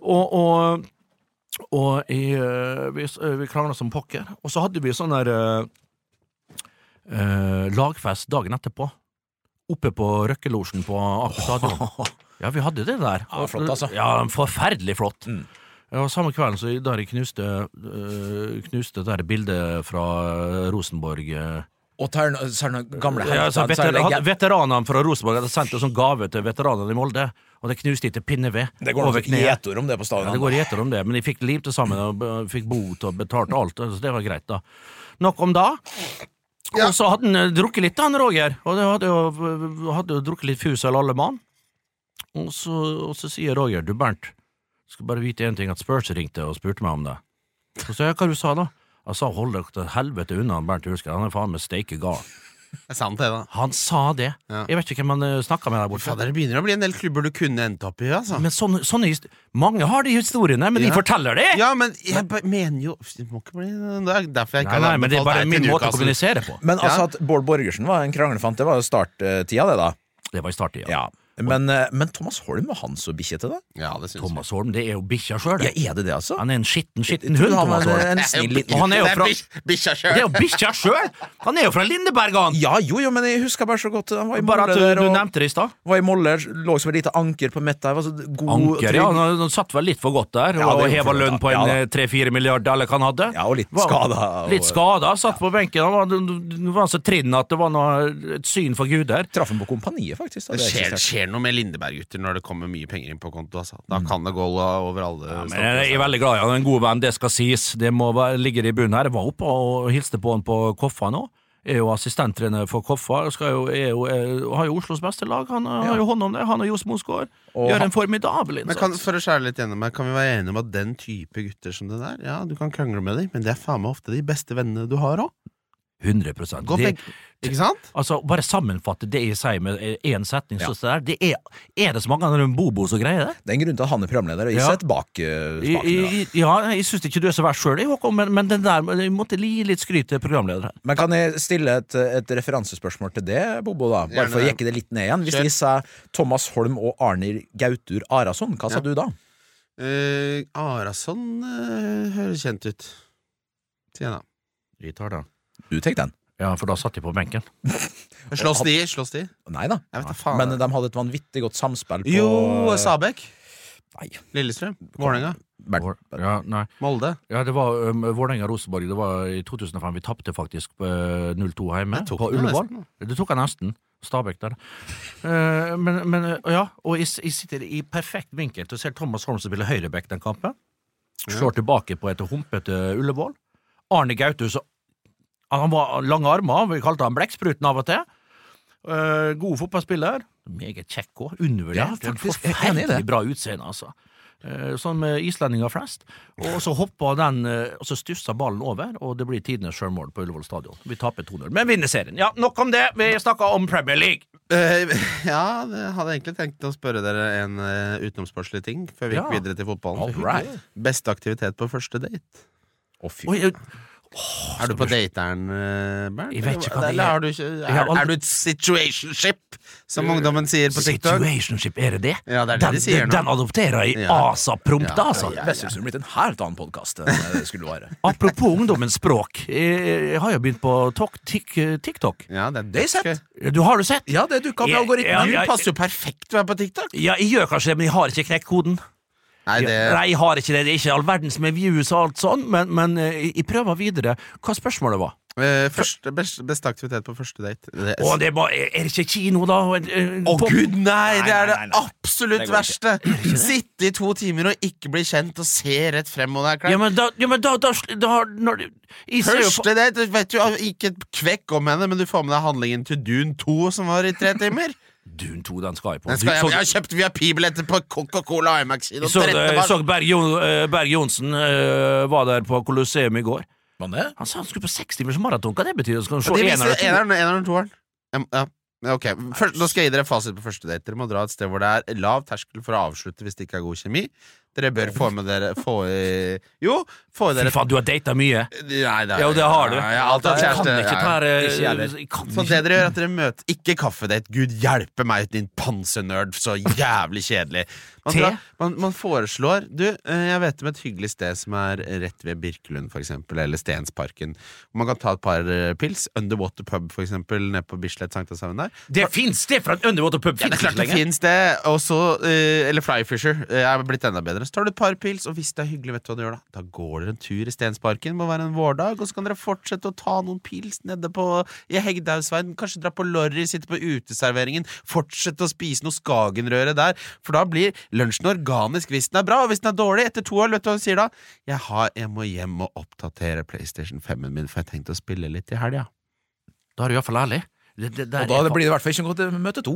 Speaker 3: Og, og, og jeg, eh, vi, s- eh, vi krangla som pokker. Og så hadde vi sånn der eh, eh, lagfest dagen etterpå. Oppe på Røkkelosjen på Aker stadion. Ja, vi hadde det der.
Speaker 4: Ja, flott, altså. Mm.
Speaker 3: Ja, forferdelig flott. Ja, og Samme kvelden så der jeg knuste, eh, knuste det der bildet fra eh, Rosenborg eh,
Speaker 4: Og tar no- så er det noen gamle
Speaker 3: ja,
Speaker 4: så er
Speaker 3: altså,
Speaker 4: det
Speaker 3: veteran,
Speaker 4: legend-
Speaker 3: veteranene fra Rosenborg hadde sendt en sånn gave til veteranene i Molde, og det knuste de til pinneved.
Speaker 4: Det går
Speaker 3: over
Speaker 4: noen
Speaker 3: kneet.
Speaker 4: gjetord om det på
Speaker 3: Ja,
Speaker 4: stadion.
Speaker 3: det går gjeter om det, men de fikk liv til sammen, og eh, fikk bot og betalte alt, så det var greit, da. Nok om da. Og så hadde han eh, drukket litt, han Roger, og det hadde jo, hadde jo drukket litt fus eller alle mann. Og så, og så sier Roger, du Bernt, skal bare vite én ting, at Spurs ringte og spurte meg om det. Så sa jeg hva du sa da? Jeg sa hold dere til helvete unna Bernt Hulsker, han er faen meg steike gal.
Speaker 2: Det er sant, det, da.
Speaker 3: Han sa det.
Speaker 2: Ja.
Speaker 3: Jeg vet ikke hvem han snakka med der borte.
Speaker 2: Fader, det begynner å bli en del klubber du kunne endt opp i, altså.
Speaker 3: Men sånne, sånne hist- Mange har de historiene, men
Speaker 2: Ja.
Speaker 3: de forteller det!
Speaker 2: ja, men jeg bare mener jo Det må ikke bli Det er derfor jeg ikke
Speaker 3: Nei, nei, men det er
Speaker 2: anbefalt
Speaker 3: bare
Speaker 2: deg
Speaker 3: min
Speaker 2: til
Speaker 3: måte å
Speaker 2: Newcastle.
Speaker 3: kommunisere på.
Speaker 4: Men
Speaker 2: Ja.
Speaker 4: altså at Bård Borgersen var en kranglefant, det var jo starttida, det, da.
Speaker 3: Det var i starten, ja.
Speaker 4: Ja. Men, eh, men Thomas Holm var han så bikkje til det?
Speaker 2: Ja, det synes jeg.
Speaker 3: Thomas Holm, det er jo bikkja sjøl.
Speaker 4: Ja, er det det, altså?
Speaker 3: Han er en skitten, skitten
Speaker 4: Jeg tror
Speaker 3: hund,
Speaker 4: han
Speaker 3: Thomas
Speaker 4: var en-
Speaker 3: Holm.
Speaker 4: en snill
Speaker 3: Og
Speaker 4: liten
Speaker 3: han er jo
Speaker 2: Det er
Speaker 3: fra
Speaker 2: bikk- bikkja
Speaker 3: Det er
Speaker 2: sjøl!
Speaker 3: jo bikkja sjøl! Han er jo fra Lindeberg, han!
Speaker 4: Ja, jo, jo, men jeg husker bare så godt Han var i
Speaker 3: Bare
Speaker 4: Molde
Speaker 3: at du,
Speaker 4: der,
Speaker 3: du
Speaker 4: og
Speaker 3: nevnte det i stad.
Speaker 4: var i Molde, lå som et lite anker på midten her. var så God
Speaker 3: Anker,
Speaker 4: trygg-
Speaker 3: ja. Han, han satt vel litt for godt der
Speaker 4: Ja,
Speaker 3: og
Speaker 4: det gjorde
Speaker 3: heva
Speaker 4: han,
Speaker 3: lønn på
Speaker 4: ja,
Speaker 3: en
Speaker 4: da.
Speaker 3: eh, tre-fire milliarder eller hva han hadde.
Speaker 4: Ja, og litt
Speaker 3: Var-
Speaker 4: skada. og-
Speaker 3: Litt skada, satt på benken. Han var, nå var han så trinn at det var noe, et syn for guder.
Speaker 4: Traff han på Kompaniet, faktisk. da.
Speaker 2: Det
Speaker 4: er ikke
Speaker 2: skjer,
Speaker 4: sterkt.
Speaker 2: skjer noe med Lindeberg-gutter når det kommer mye penger inn på konto. Altså. Da kan det gå la- over alle altså.
Speaker 3: Men
Speaker 2: stolper.
Speaker 3: jeg er veldig glad i han, en god venn, det skal sies. Det må være, ligger i bunnen her. Jeg var oppe og hilste på han på Koffa nå. Er jo assistenttrener for Koffa. Skal jo, er jo, er, har jo Oslos beste lag. Han har jo hånd om det. Han og Johs Mosgaard
Speaker 4: Og
Speaker 3: gjør
Speaker 4: han-
Speaker 3: en formidabel innsats.
Speaker 2: Men kan, for å skjære litt gjennom her, kan vi være enige om at den type gutter som det der, ja, du kan krangle med dem, men det er faen meg ofte de beste vennene du har òg.
Speaker 3: 100
Speaker 2: Gå
Speaker 3: Det-
Speaker 2: begge Ikke sant?
Speaker 3: Altså, Bare sammenfatte det jeg sier med én setning. Så så der, det er, er det så mange andre enn Bobo som greier det?
Speaker 4: Det er en grunn til at han er programleder, og jeg
Speaker 3: Ja.
Speaker 4: sitter bak eh,
Speaker 3: I,
Speaker 4: spakene. da.
Speaker 3: i, ja, Jeg syns ikke du er så verst sjøl, Håkon, men, men den der, jeg måtte gi litt skryt til programleder her.
Speaker 4: Men kan jeg stille et, et referansespørsmål til det, Bobo, da? Bare for å
Speaker 2: Gjerne det.
Speaker 4: jekke det litt ned igjen. Hvis
Speaker 2: Kjør.
Speaker 4: de sa Thomas Holm og Arnir Gautur Arason, hva sa
Speaker 2: Ja.
Speaker 4: du da?
Speaker 2: Eh, Arason eh, høres kjent ut. Sier jeg da.
Speaker 3: Vi tar den.
Speaker 4: Du tenkte den.
Speaker 3: Ja, for da satt jeg på benken.
Speaker 2: Slåss de? Slåss de?
Speaker 4: Nei da.
Speaker 2: Jeg vet da faen.
Speaker 4: Men de hadde et vanvittig godt samspill på
Speaker 2: jo, Sabek.
Speaker 4: Nei.
Speaker 2: Lillestrøm. Vålerenga.
Speaker 4: Bernt.
Speaker 3: Ja, nei.
Speaker 2: Molde.
Speaker 3: ja, det var um, Vålerenga-Rosenborg. Det var i 2005. Vi tapte faktisk eh, 0-2 hjemme,
Speaker 2: Jeg tok
Speaker 3: på
Speaker 2: den
Speaker 3: Ullevål.
Speaker 2: nesten,
Speaker 3: Det tok jeg nesten. Stabæk der. Eh, men, men eh, ja, og jeg, s- jeg sitter i perfekt vinkel og ser Thomas Holm spille høyreback den kampen. Slår tilbake på et humpete Ullevål. Arne Gaute så- Han var lange armer, vi kalte han Blekkspruten av og til. Eh, god fotballspiller. Meget kjekk òg.
Speaker 4: Ja,
Speaker 3: Undervurdert.
Speaker 4: faktisk, jeg er enig i det.
Speaker 3: Forferdelig bra utseende, altså. Eh, Sånn med islendinger flest. Og så hoppa den, eh, og så stussa ballen over, og det blir tidenes sjølmål på Ullevål stadion. Vi taper 2-0, men vinner serien. Ja, nok om det, vi snakka om Premier League.
Speaker 2: Eh, ja, det hadde jeg egentlig tenkt å spørre dere en eh, utenomsportslig ting før vi gikk
Speaker 3: Ja.
Speaker 2: videre til fotballen.
Speaker 4: Alright.
Speaker 2: Beste aktivitet på første date?
Speaker 4: Å, fy.
Speaker 3: Oi, jeg-
Speaker 2: Er du på dateren, eh, Bernt?
Speaker 3: Jeg vet ikke hva det
Speaker 2: Eller
Speaker 3: er.
Speaker 2: har du ikke,
Speaker 3: Jeg har
Speaker 2: er,
Speaker 3: aldri-
Speaker 2: er du et situationship, som ungdommen sier på TikTok?
Speaker 3: situationship, er det det?
Speaker 2: Ja, det er det
Speaker 3: den,
Speaker 2: de sier nå.
Speaker 3: Den adopterer jeg
Speaker 2: Ja.
Speaker 3: asap prompt,
Speaker 2: Ja,
Speaker 3: altså.
Speaker 4: Vestlandsrevyen blitt en helt annen podkast enn det skulle være.
Speaker 3: Apropos ungdommens språk, jeg, jeg har jo begynt på tok, tik, TikTok.
Speaker 2: Ja, det er
Speaker 4: Det har jeg sett.
Speaker 2: dødsgøy.
Speaker 3: Du har du sett?
Speaker 4: Ja, det dukka opp i
Speaker 3: Ja, ja,
Speaker 4: algoritmen.
Speaker 3: ja.
Speaker 2: Du passer jo perfekt til å være på TikTok.
Speaker 3: Ja, jeg gjør kanskje det, men jeg har ikke knekt koden.
Speaker 2: Nei, det
Speaker 3: Nei, jeg har ikke det. Det er ikke all verdens med views og alt sånn, men, men eh, jeg prøver videre. Hva spørsmålet var?
Speaker 2: eh, første, best, Beste aktivitet på første date. Det,
Speaker 3: Å, det må, er det ikke kino, da? Og en- en-
Speaker 2: Å
Speaker 3: på-
Speaker 2: gud, nei! Det er det
Speaker 4: nei, nei, nei.
Speaker 2: absolutt
Speaker 4: Det går
Speaker 2: verste! Sitte i to timer og ikke bli kjent, og se rett frem og det er
Speaker 3: Ja,
Speaker 2: klart.
Speaker 3: men da, ja, men da, da, da når, du- jeg ser jo på-
Speaker 2: Første date, du vet jo ah, ikke et kvekk om henne, men du får med deg handlingen til Dune 2 som var i tre timer.
Speaker 3: Dune 2, den skal jeg på.
Speaker 2: Den skal
Speaker 3: Du-
Speaker 2: jeg, jeg
Speaker 3: så-
Speaker 2: har kjøpt VIP-billetter på Coca-Cola IMAX-kino.
Speaker 3: jeg så, jeg
Speaker 2: 13
Speaker 3: så
Speaker 2: barn.
Speaker 3: Berg, jo, eh, Berg Johnsen eh, var der på Colosseum i går.
Speaker 4: Var det?
Speaker 3: Han sa han skulle på seks timers maraton. Hva det betyr? Skal han se
Speaker 2: De
Speaker 3: eneren
Speaker 2: viser
Speaker 3: og toeren?
Speaker 2: eneren eneren og toeren. Em, Ja. Ok, Først, Nå skal jeg gi dere fasit på første date. Dere må dra et sted hvor det er lav terskel for å avslutte hvis det ikke er god kjemi. Dere bør få med dere få, i- Jo, få i dere
Speaker 3: Fy faen, du har data mye.
Speaker 2: Nei, det er-
Speaker 3: Jo, det har du.
Speaker 2: Ja, jeg har alltid hatt
Speaker 3: Jeg
Speaker 2: kjæreste.
Speaker 3: kan ikke
Speaker 2: ja,
Speaker 3: ta
Speaker 2: ja.
Speaker 3: eh,
Speaker 4: Ikke jeg heller.
Speaker 3: jeg kan
Speaker 2: Så det
Speaker 3: ikke-
Speaker 2: dere Sånn, gjør, er at dere møter ikke kaffedate. Gud hjelpe meg, din pansenerd. Så jævlig kjedelig. Man,
Speaker 3: Te?
Speaker 2: drar- man, man foreslår Du, eh, jeg vet om et hyggelig sted som er rett ved Birkelund, for eksempel, eller Stensparken. Hvor Man kan ta et par eh, pils. Underwater Pub, for eksempel, nede på Bislett Sankthanshaugen der.
Speaker 3: Det fins det fra en underwater pub!
Speaker 2: Ja, det er klart det finnes det. Og så, eh, eller Flyfisher. eh, er blitt enda bedre. Så tar du et par pils, og hvis det er hyggelig, vet du hva du gjør da? Da går dere en tur i Stensparken. Må være en vårdag. Og så kan dere fortsette å ta noen pils nede på i Hegdehaugsveien. Kanskje dra på Lorry, sitte på uteserveringen. Fortsette å spise noe Skagenrøre der. For da blir lunsjen organisk hvis den er bra. Og hvis den er dårlig, etter to år, vet du hva hun sier da? Jeg, har, jeg må hjem og oppdatere PlayStation 5-en min, for jeg tenkte å spille litt i helga.
Speaker 3: Da er du iallfall ærlig. Det, det, der
Speaker 4: Og da
Speaker 3: er
Speaker 4: blir det i hvert fall ikke noe til møte to.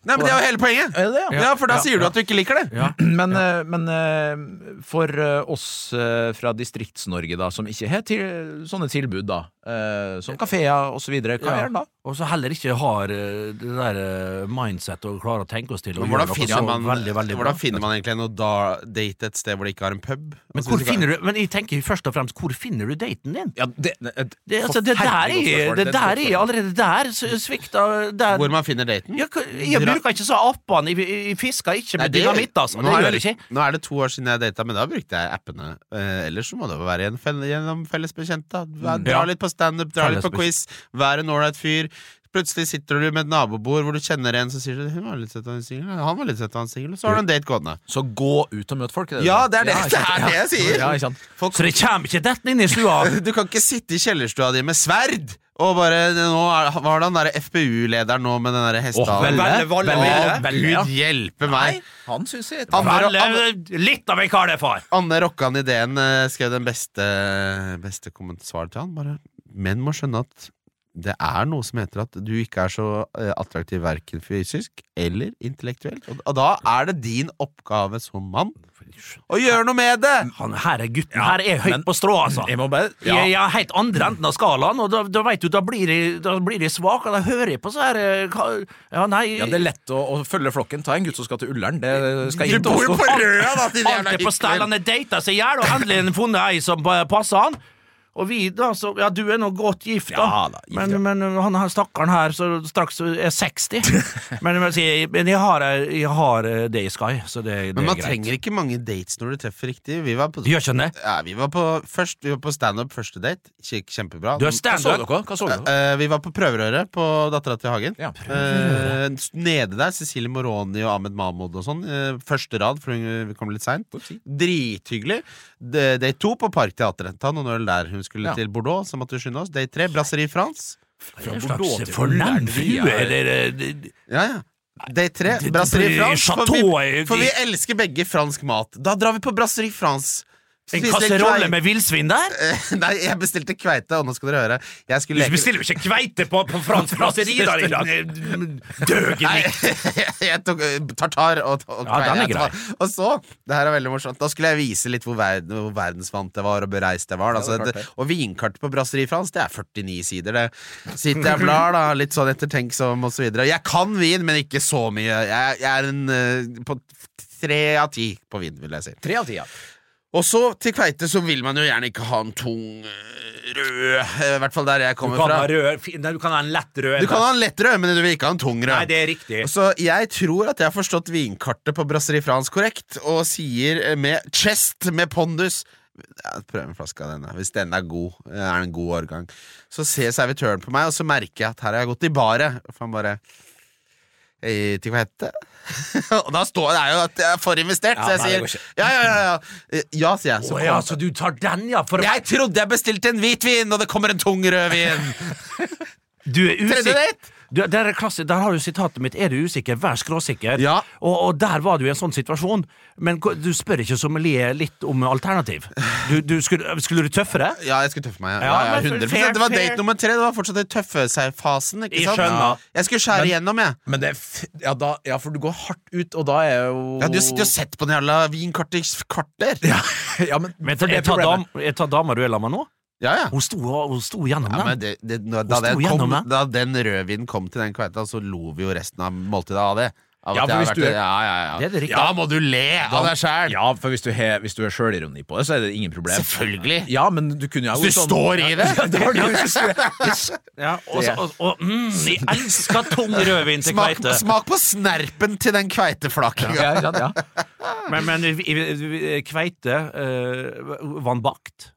Speaker 2: Nei, men det er jo hele poenget!
Speaker 4: Er det det, ja?
Speaker 2: Ja, for da
Speaker 3: Ja,
Speaker 2: sier du
Speaker 3: ja.
Speaker 2: at du ikke liker det.
Speaker 3: Ja.
Speaker 4: Men, eh, men eh, for eh, oss eh, fra Distrikts-Norge da, som ikke har til, sånne tilbud, da, eh, som kafeer osv. Hva
Speaker 3: Ja.
Speaker 4: gjør en da?
Speaker 3: Og så heller ikke har eh, det der eh, mindset og klarer å tenke oss til å
Speaker 2: Men
Speaker 3: gjøre
Speaker 2: hvordan
Speaker 3: noe
Speaker 2: finner,
Speaker 3: så
Speaker 2: man,
Speaker 3: veldig, veldig bra.
Speaker 2: hvordan finner man egentlig noe da, date et sted hvor det ikke har en pub? Altså,
Speaker 3: Men, hvor finner du, men jeg tenker jo først og fremst, hvor finner du daten din?
Speaker 4: Ja, det, et,
Speaker 3: Det, altså, det der
Speaker 2: Forferdelig godt
Speaker 3: er,
Speaker 2: spørsmål. Det er et godt
Speaker 3: det der er
Speaker 2: spørsmål.
Speaker 3: allerede der s- svikta der.
Speaker 2: Hvor man finner daten?
Speaker 3: jeg, jeg
Speaker 2: Dra-
Speaker 3: bruker ikke så appene, jeg, jeg fisker ikke med
Speaker 2: det-
Speaker 3: dynamitt, altså.
Speaker 2: nå,
Speaker 3: Det
Speaker 2: er
Speaker 3: gjør
Speaker 2: det,
Speaker 3: jeg ikke.
Speaker 2: nå er det to år siden jeg data, men da brukte jeg appene. Eh, ellers så må det jo være gjennom, fell, gjennom felles bekjent. da. Dra
Speaker 3: Mm, Ja.
Speaker 2: litt på standup, dra litt på
Speaker 3: Felles
Speaker 2: quiz, vær en ålreit fyr. Plutselig sitter du med et nabobord hvor du kjenner en som sier sånn, Hun var litt søt og han singel, han var litt søt og han singel, og så har du en date gående.
Speaker 4: Så gå ut og møt folk. er
Speaker 2: Ja, det er det,
Speaker 4: ikke
Speaker 2: det,
Speaker 4: sant?
Speaker 2: er det jeg sier!
Speaker 4: Ja, ikke sant?
Speaker 3: Så det kommer ikke dette inn i stua.
Speaker 2: Du kan ikke sitte i kjellerstua di med sverd! Og bare, nå er, Hva er det han derre FPU-lederen nå med den derre hestehalen?
Speaker 3: Velle, Velle,
Speaker 2: Å,
Speaker 3: Velle, ja.
Speaker 2: Gud hjelpe meg!
Speaker 4: Han syns jeg
Speaker 2: Han- Velle,
Speaker 3: Velle, eh, litt av en kar det er, far.
Speaker 2: Anne Rokkan Ideen eh, skrev den beste, beste kommentaren til han. Bare menn må skjønne at det er noe som heter at du ikke er så eh, attraktiv verken fysisk eller intellektuelt. Og, og da er det din oppgave som mann å gjøre noe med det!
Speaker 3: Han her er gutten. her er høyt
Speaker 4: men-
Speaker 3: på strå, altså.
Speaker 4: Jeg må bare
Speaker 3: Ja. Jeg er helt andre enden av skalaen, og da, da vet du, da blir jeg, da blir jeg svak, og da hører jeg på så her eh, hva- Ja, nei
Speaker 4: Ja, Det er lett å, å følge flokken. Ta en gutt som skal til Ullern. Det skal
Speaker 2: Du
Speaker 4: jeg ikke
Speaker 2: bor jo
Speaker 4: påstå.
Speaker 2: på Røa, da! din
Speaker 3: Alt
Speaker 2: jævla
Speaker 3: er på stell,
Speaker 2: hykler.
Speaker 3: han er data seg i hjel, og endelig har han funnet ei som eh, passer han. Og vi, da, så Ja, du er nå godt gift, da,
Speaker 4: Ja da, gift,
Speaker 3: men,
Speaker 4: ja.
Speaker 3: men han her stakkaren her som straks er 60 Men jeg, må si, men jeg, har, eh, jeg har eh, det jeg skal, så det, det
Speaker 2: Men
Speaker 3: er
Speaker 2: man
Speaker 3: greit.
Speaker 2: trenger ikke mange dates når du treffer riktig. Vi var på,
Speaker 3: Du gjør ikke det?
Speaker 2: ja, vi var på, først, vi var på standup første date. Kjek- Kjempebra.
Speaker 3: Du er
Speaker 4: Hva så
Speaker 3: standup.
Speaker 4: dere? Hva så dere?
Speaker 2: Eh, vi var på prøverøret på Dattera til Hagen.
Speaker 4: Ja.
Speaker 2: Eh, nede der, Cecilie Moroni og Ahmed Mahmoud og sånn. eh, første rad, for hun eh, kom litt seint. Drithyggelig. D- Date to på Parkteatret. Ta noen øl der. Hun skulle
Speaker 4: Ja.
Speaker 2: til Bordeaux, så måtte vi skynde oss. Date tre, Brasserie France.
Speaker 3: Det er en
Speaker 4: Bordeaux
Speaker 3: slags
Speaker 4: til Ullern, vi
Speaker 3: fornemflue,
Speaker 4: er-
Speaker 3: eller eh,
Speaker 2: Ja, ja. Date tre,
Speaker 3: Det- det
Speaker 2: Brasserie
Speaker 3: blir
Speaker 2: France. For vi,
Speaker 3: chateau,
Speaker 2: for
Speaker 3: de-
Speaker 2: vi elsker begge fransk mat. Da drar vi på Brasserie France.
Speaker 3: En
Speaker 2: Spise litt kvei-
Speaker 3: kasserolle med villsvin der?
Speaker 2: Eh, Nei, jeg bestilte kveite, og nå skal dere høre. Jeg skulle
Speaker 3: Du
Speaker 2: leke
Speaker 3: bestiller jo ikke kveite på, på fransk raseri, da! Mm,
Speaker 2: Nei,
Speaker 3: Døgen
Speaker 2: jeg tok eh, tartar og, og
Speaker 3: Ja, den er
Speaker 2: kveite. Og så, det her er veldig morsomt, da skulle jeg vise litt hvor, verden, hvor verdensvant jeg var, og bereist jeg var.
Speaker 4: Ja, det
Speaker 2: da.
Speaker 4: er
Speaker 2: Så
Speaker 4: klart
Speaker 2: det,
Speaker 4: det.
Speaker 2: og vinkartet på Brasserie France, det er 49 sider, det. Sitter jeg og blar, da, litt sånn ettertenksom og så videre. Jeg kan vin, men ikke så mye. Jeg, jeg er en eh, på tre av ti på vin, vil jeg si.
Speaker 4: Tre av ti, ja.
Speaker 2: Og så til kveite, så vil man jo gjerne ikke ha en tung eh, rød, eh, i hvert fall der jeg
Speaker 3: Du
Speaker 2: kommer
Speaker 3: kan
Speaker 2: fra.
Speaker 3: ha rød fin- Nei, du kan ha en lett rød.
Speaker 2: Du kan ha en lett rød, men du vil ikke ha en tung rød.
Speaker 3: Nei, det er riktig.
Speaker 2: Så jeg tror at jeg har forstått vinkartet på Brasserie France korrekt, og sier eh, med chest med pondus ja, Prøv en flaske av denne. Hvis denne er god, eh, er det en god årgang. Så ser servitøren på meg, og så merker jeg at her har jeg gått i baret. For han bare «Eh, til hva hette? og da står det er jo at jeg er forinvestert,
Speaker 4: Ja, nei,
Speaker 2: så jeg
Speaker 4: det går
Speaker 2: sier ja, ja, ja, ja. Eh, Ja, sier jeg. Så
Speaker 3: Å
Speaker 2: kom-
Speaker 3: ja, så du tar den, ja? For
Speaker 2: Jeg trodde jeg bestilte en hvitvin, og det kommer en tung rødvin!
Speaker 3: du er
Speaker 2: Tredje
Speaker 3: usikker.
Speaker 2: date!
Speaker 3: Du, der, er klasse, der har du sitatet mitt 'Er du usikker, vær skråsikker'.
Speaker 2: Ja.
Speaker 3: Og, og der var du i en sånn situasjon. Men ko- du spør ikke sommelier litt om alternativ. Du, du skulle, skulle du tøffere?
Speaker 2: Ja, jeg skulle tøffe meg. Ja,
Speaker 3: Ja,
Speaker 2: ja,
Speaker 3: men
Speaker 2: 100
Speaker 3: fair,
Speaker 2: Det var
Speaker 3: fair.
Speaker 2: date nummer tre. Det var fortsatt den tøffe seg-fasen.
Speaker 3: Jeg
Speaker 2: Ikke sant?
Speaker 3: skjønner.
Speaker 2: Jeg skulle skjære igjennom, jeg.
Speaker 4: Men det er f ja, da, ja, for du går hardt ut, og da er jo
Speaker 2: Jeg hadde jo sittet og sett på den jævla vinkartet i kvarter.
Speaker 4: ja, ja, men,
Speaker 3: Men
Speaker 4: for det
Speaker 3: jeg tar, dam,
Speaker 4: problemet-
Speaker 3: jeg tar dama du er sammen med nå.
Speaker 2: Ja, ja.
Speaker 3: Hun sto, hun sto gjennom
Speaker 2: Ja,
Speaker 3: den.
Speaker 2: men det, det, når- da,
Speaker 3: Hun sto
Speaker 2: den kom,
Speaker 3: gjennom det.
Speaker 2: da den rødvinen kom til den kveita, så lo vi jo resten av måltidet av det. Av
Speaker 4: Ja, for
Speaker 2: at jeg har
Speaker 4: hvis
Speaker 2: vært-
Speaker 4: du er-
Speaker 2: ja, ja, ja.
Speaker 3: Det er det riktige.
Speaker 2: Da må du le av deg sjæl!
Speaker 4: ja, for hvis du har hvis du har sjølironi på det, så er det ingen problem.
Speaker 2: Selvfølgelig.
Speaker 4: Ja, men du kunne jo
Speaker 2: Hvis du står i det!
Speaker 4: Ja, det var det jeg skulle si.
Speaker 3: Ja, og, så- og, og mm, jeg elsker tung rødvin til
Speaker 2: Smak,
Speaker 3: kveite.
Speaker 2: smak på snerpen til den kveiteflakinga.
Speaker 4: Ja, ikke sant, ja.
Speaker 3: Men, men i- i- i- kveite uh, vann bakt.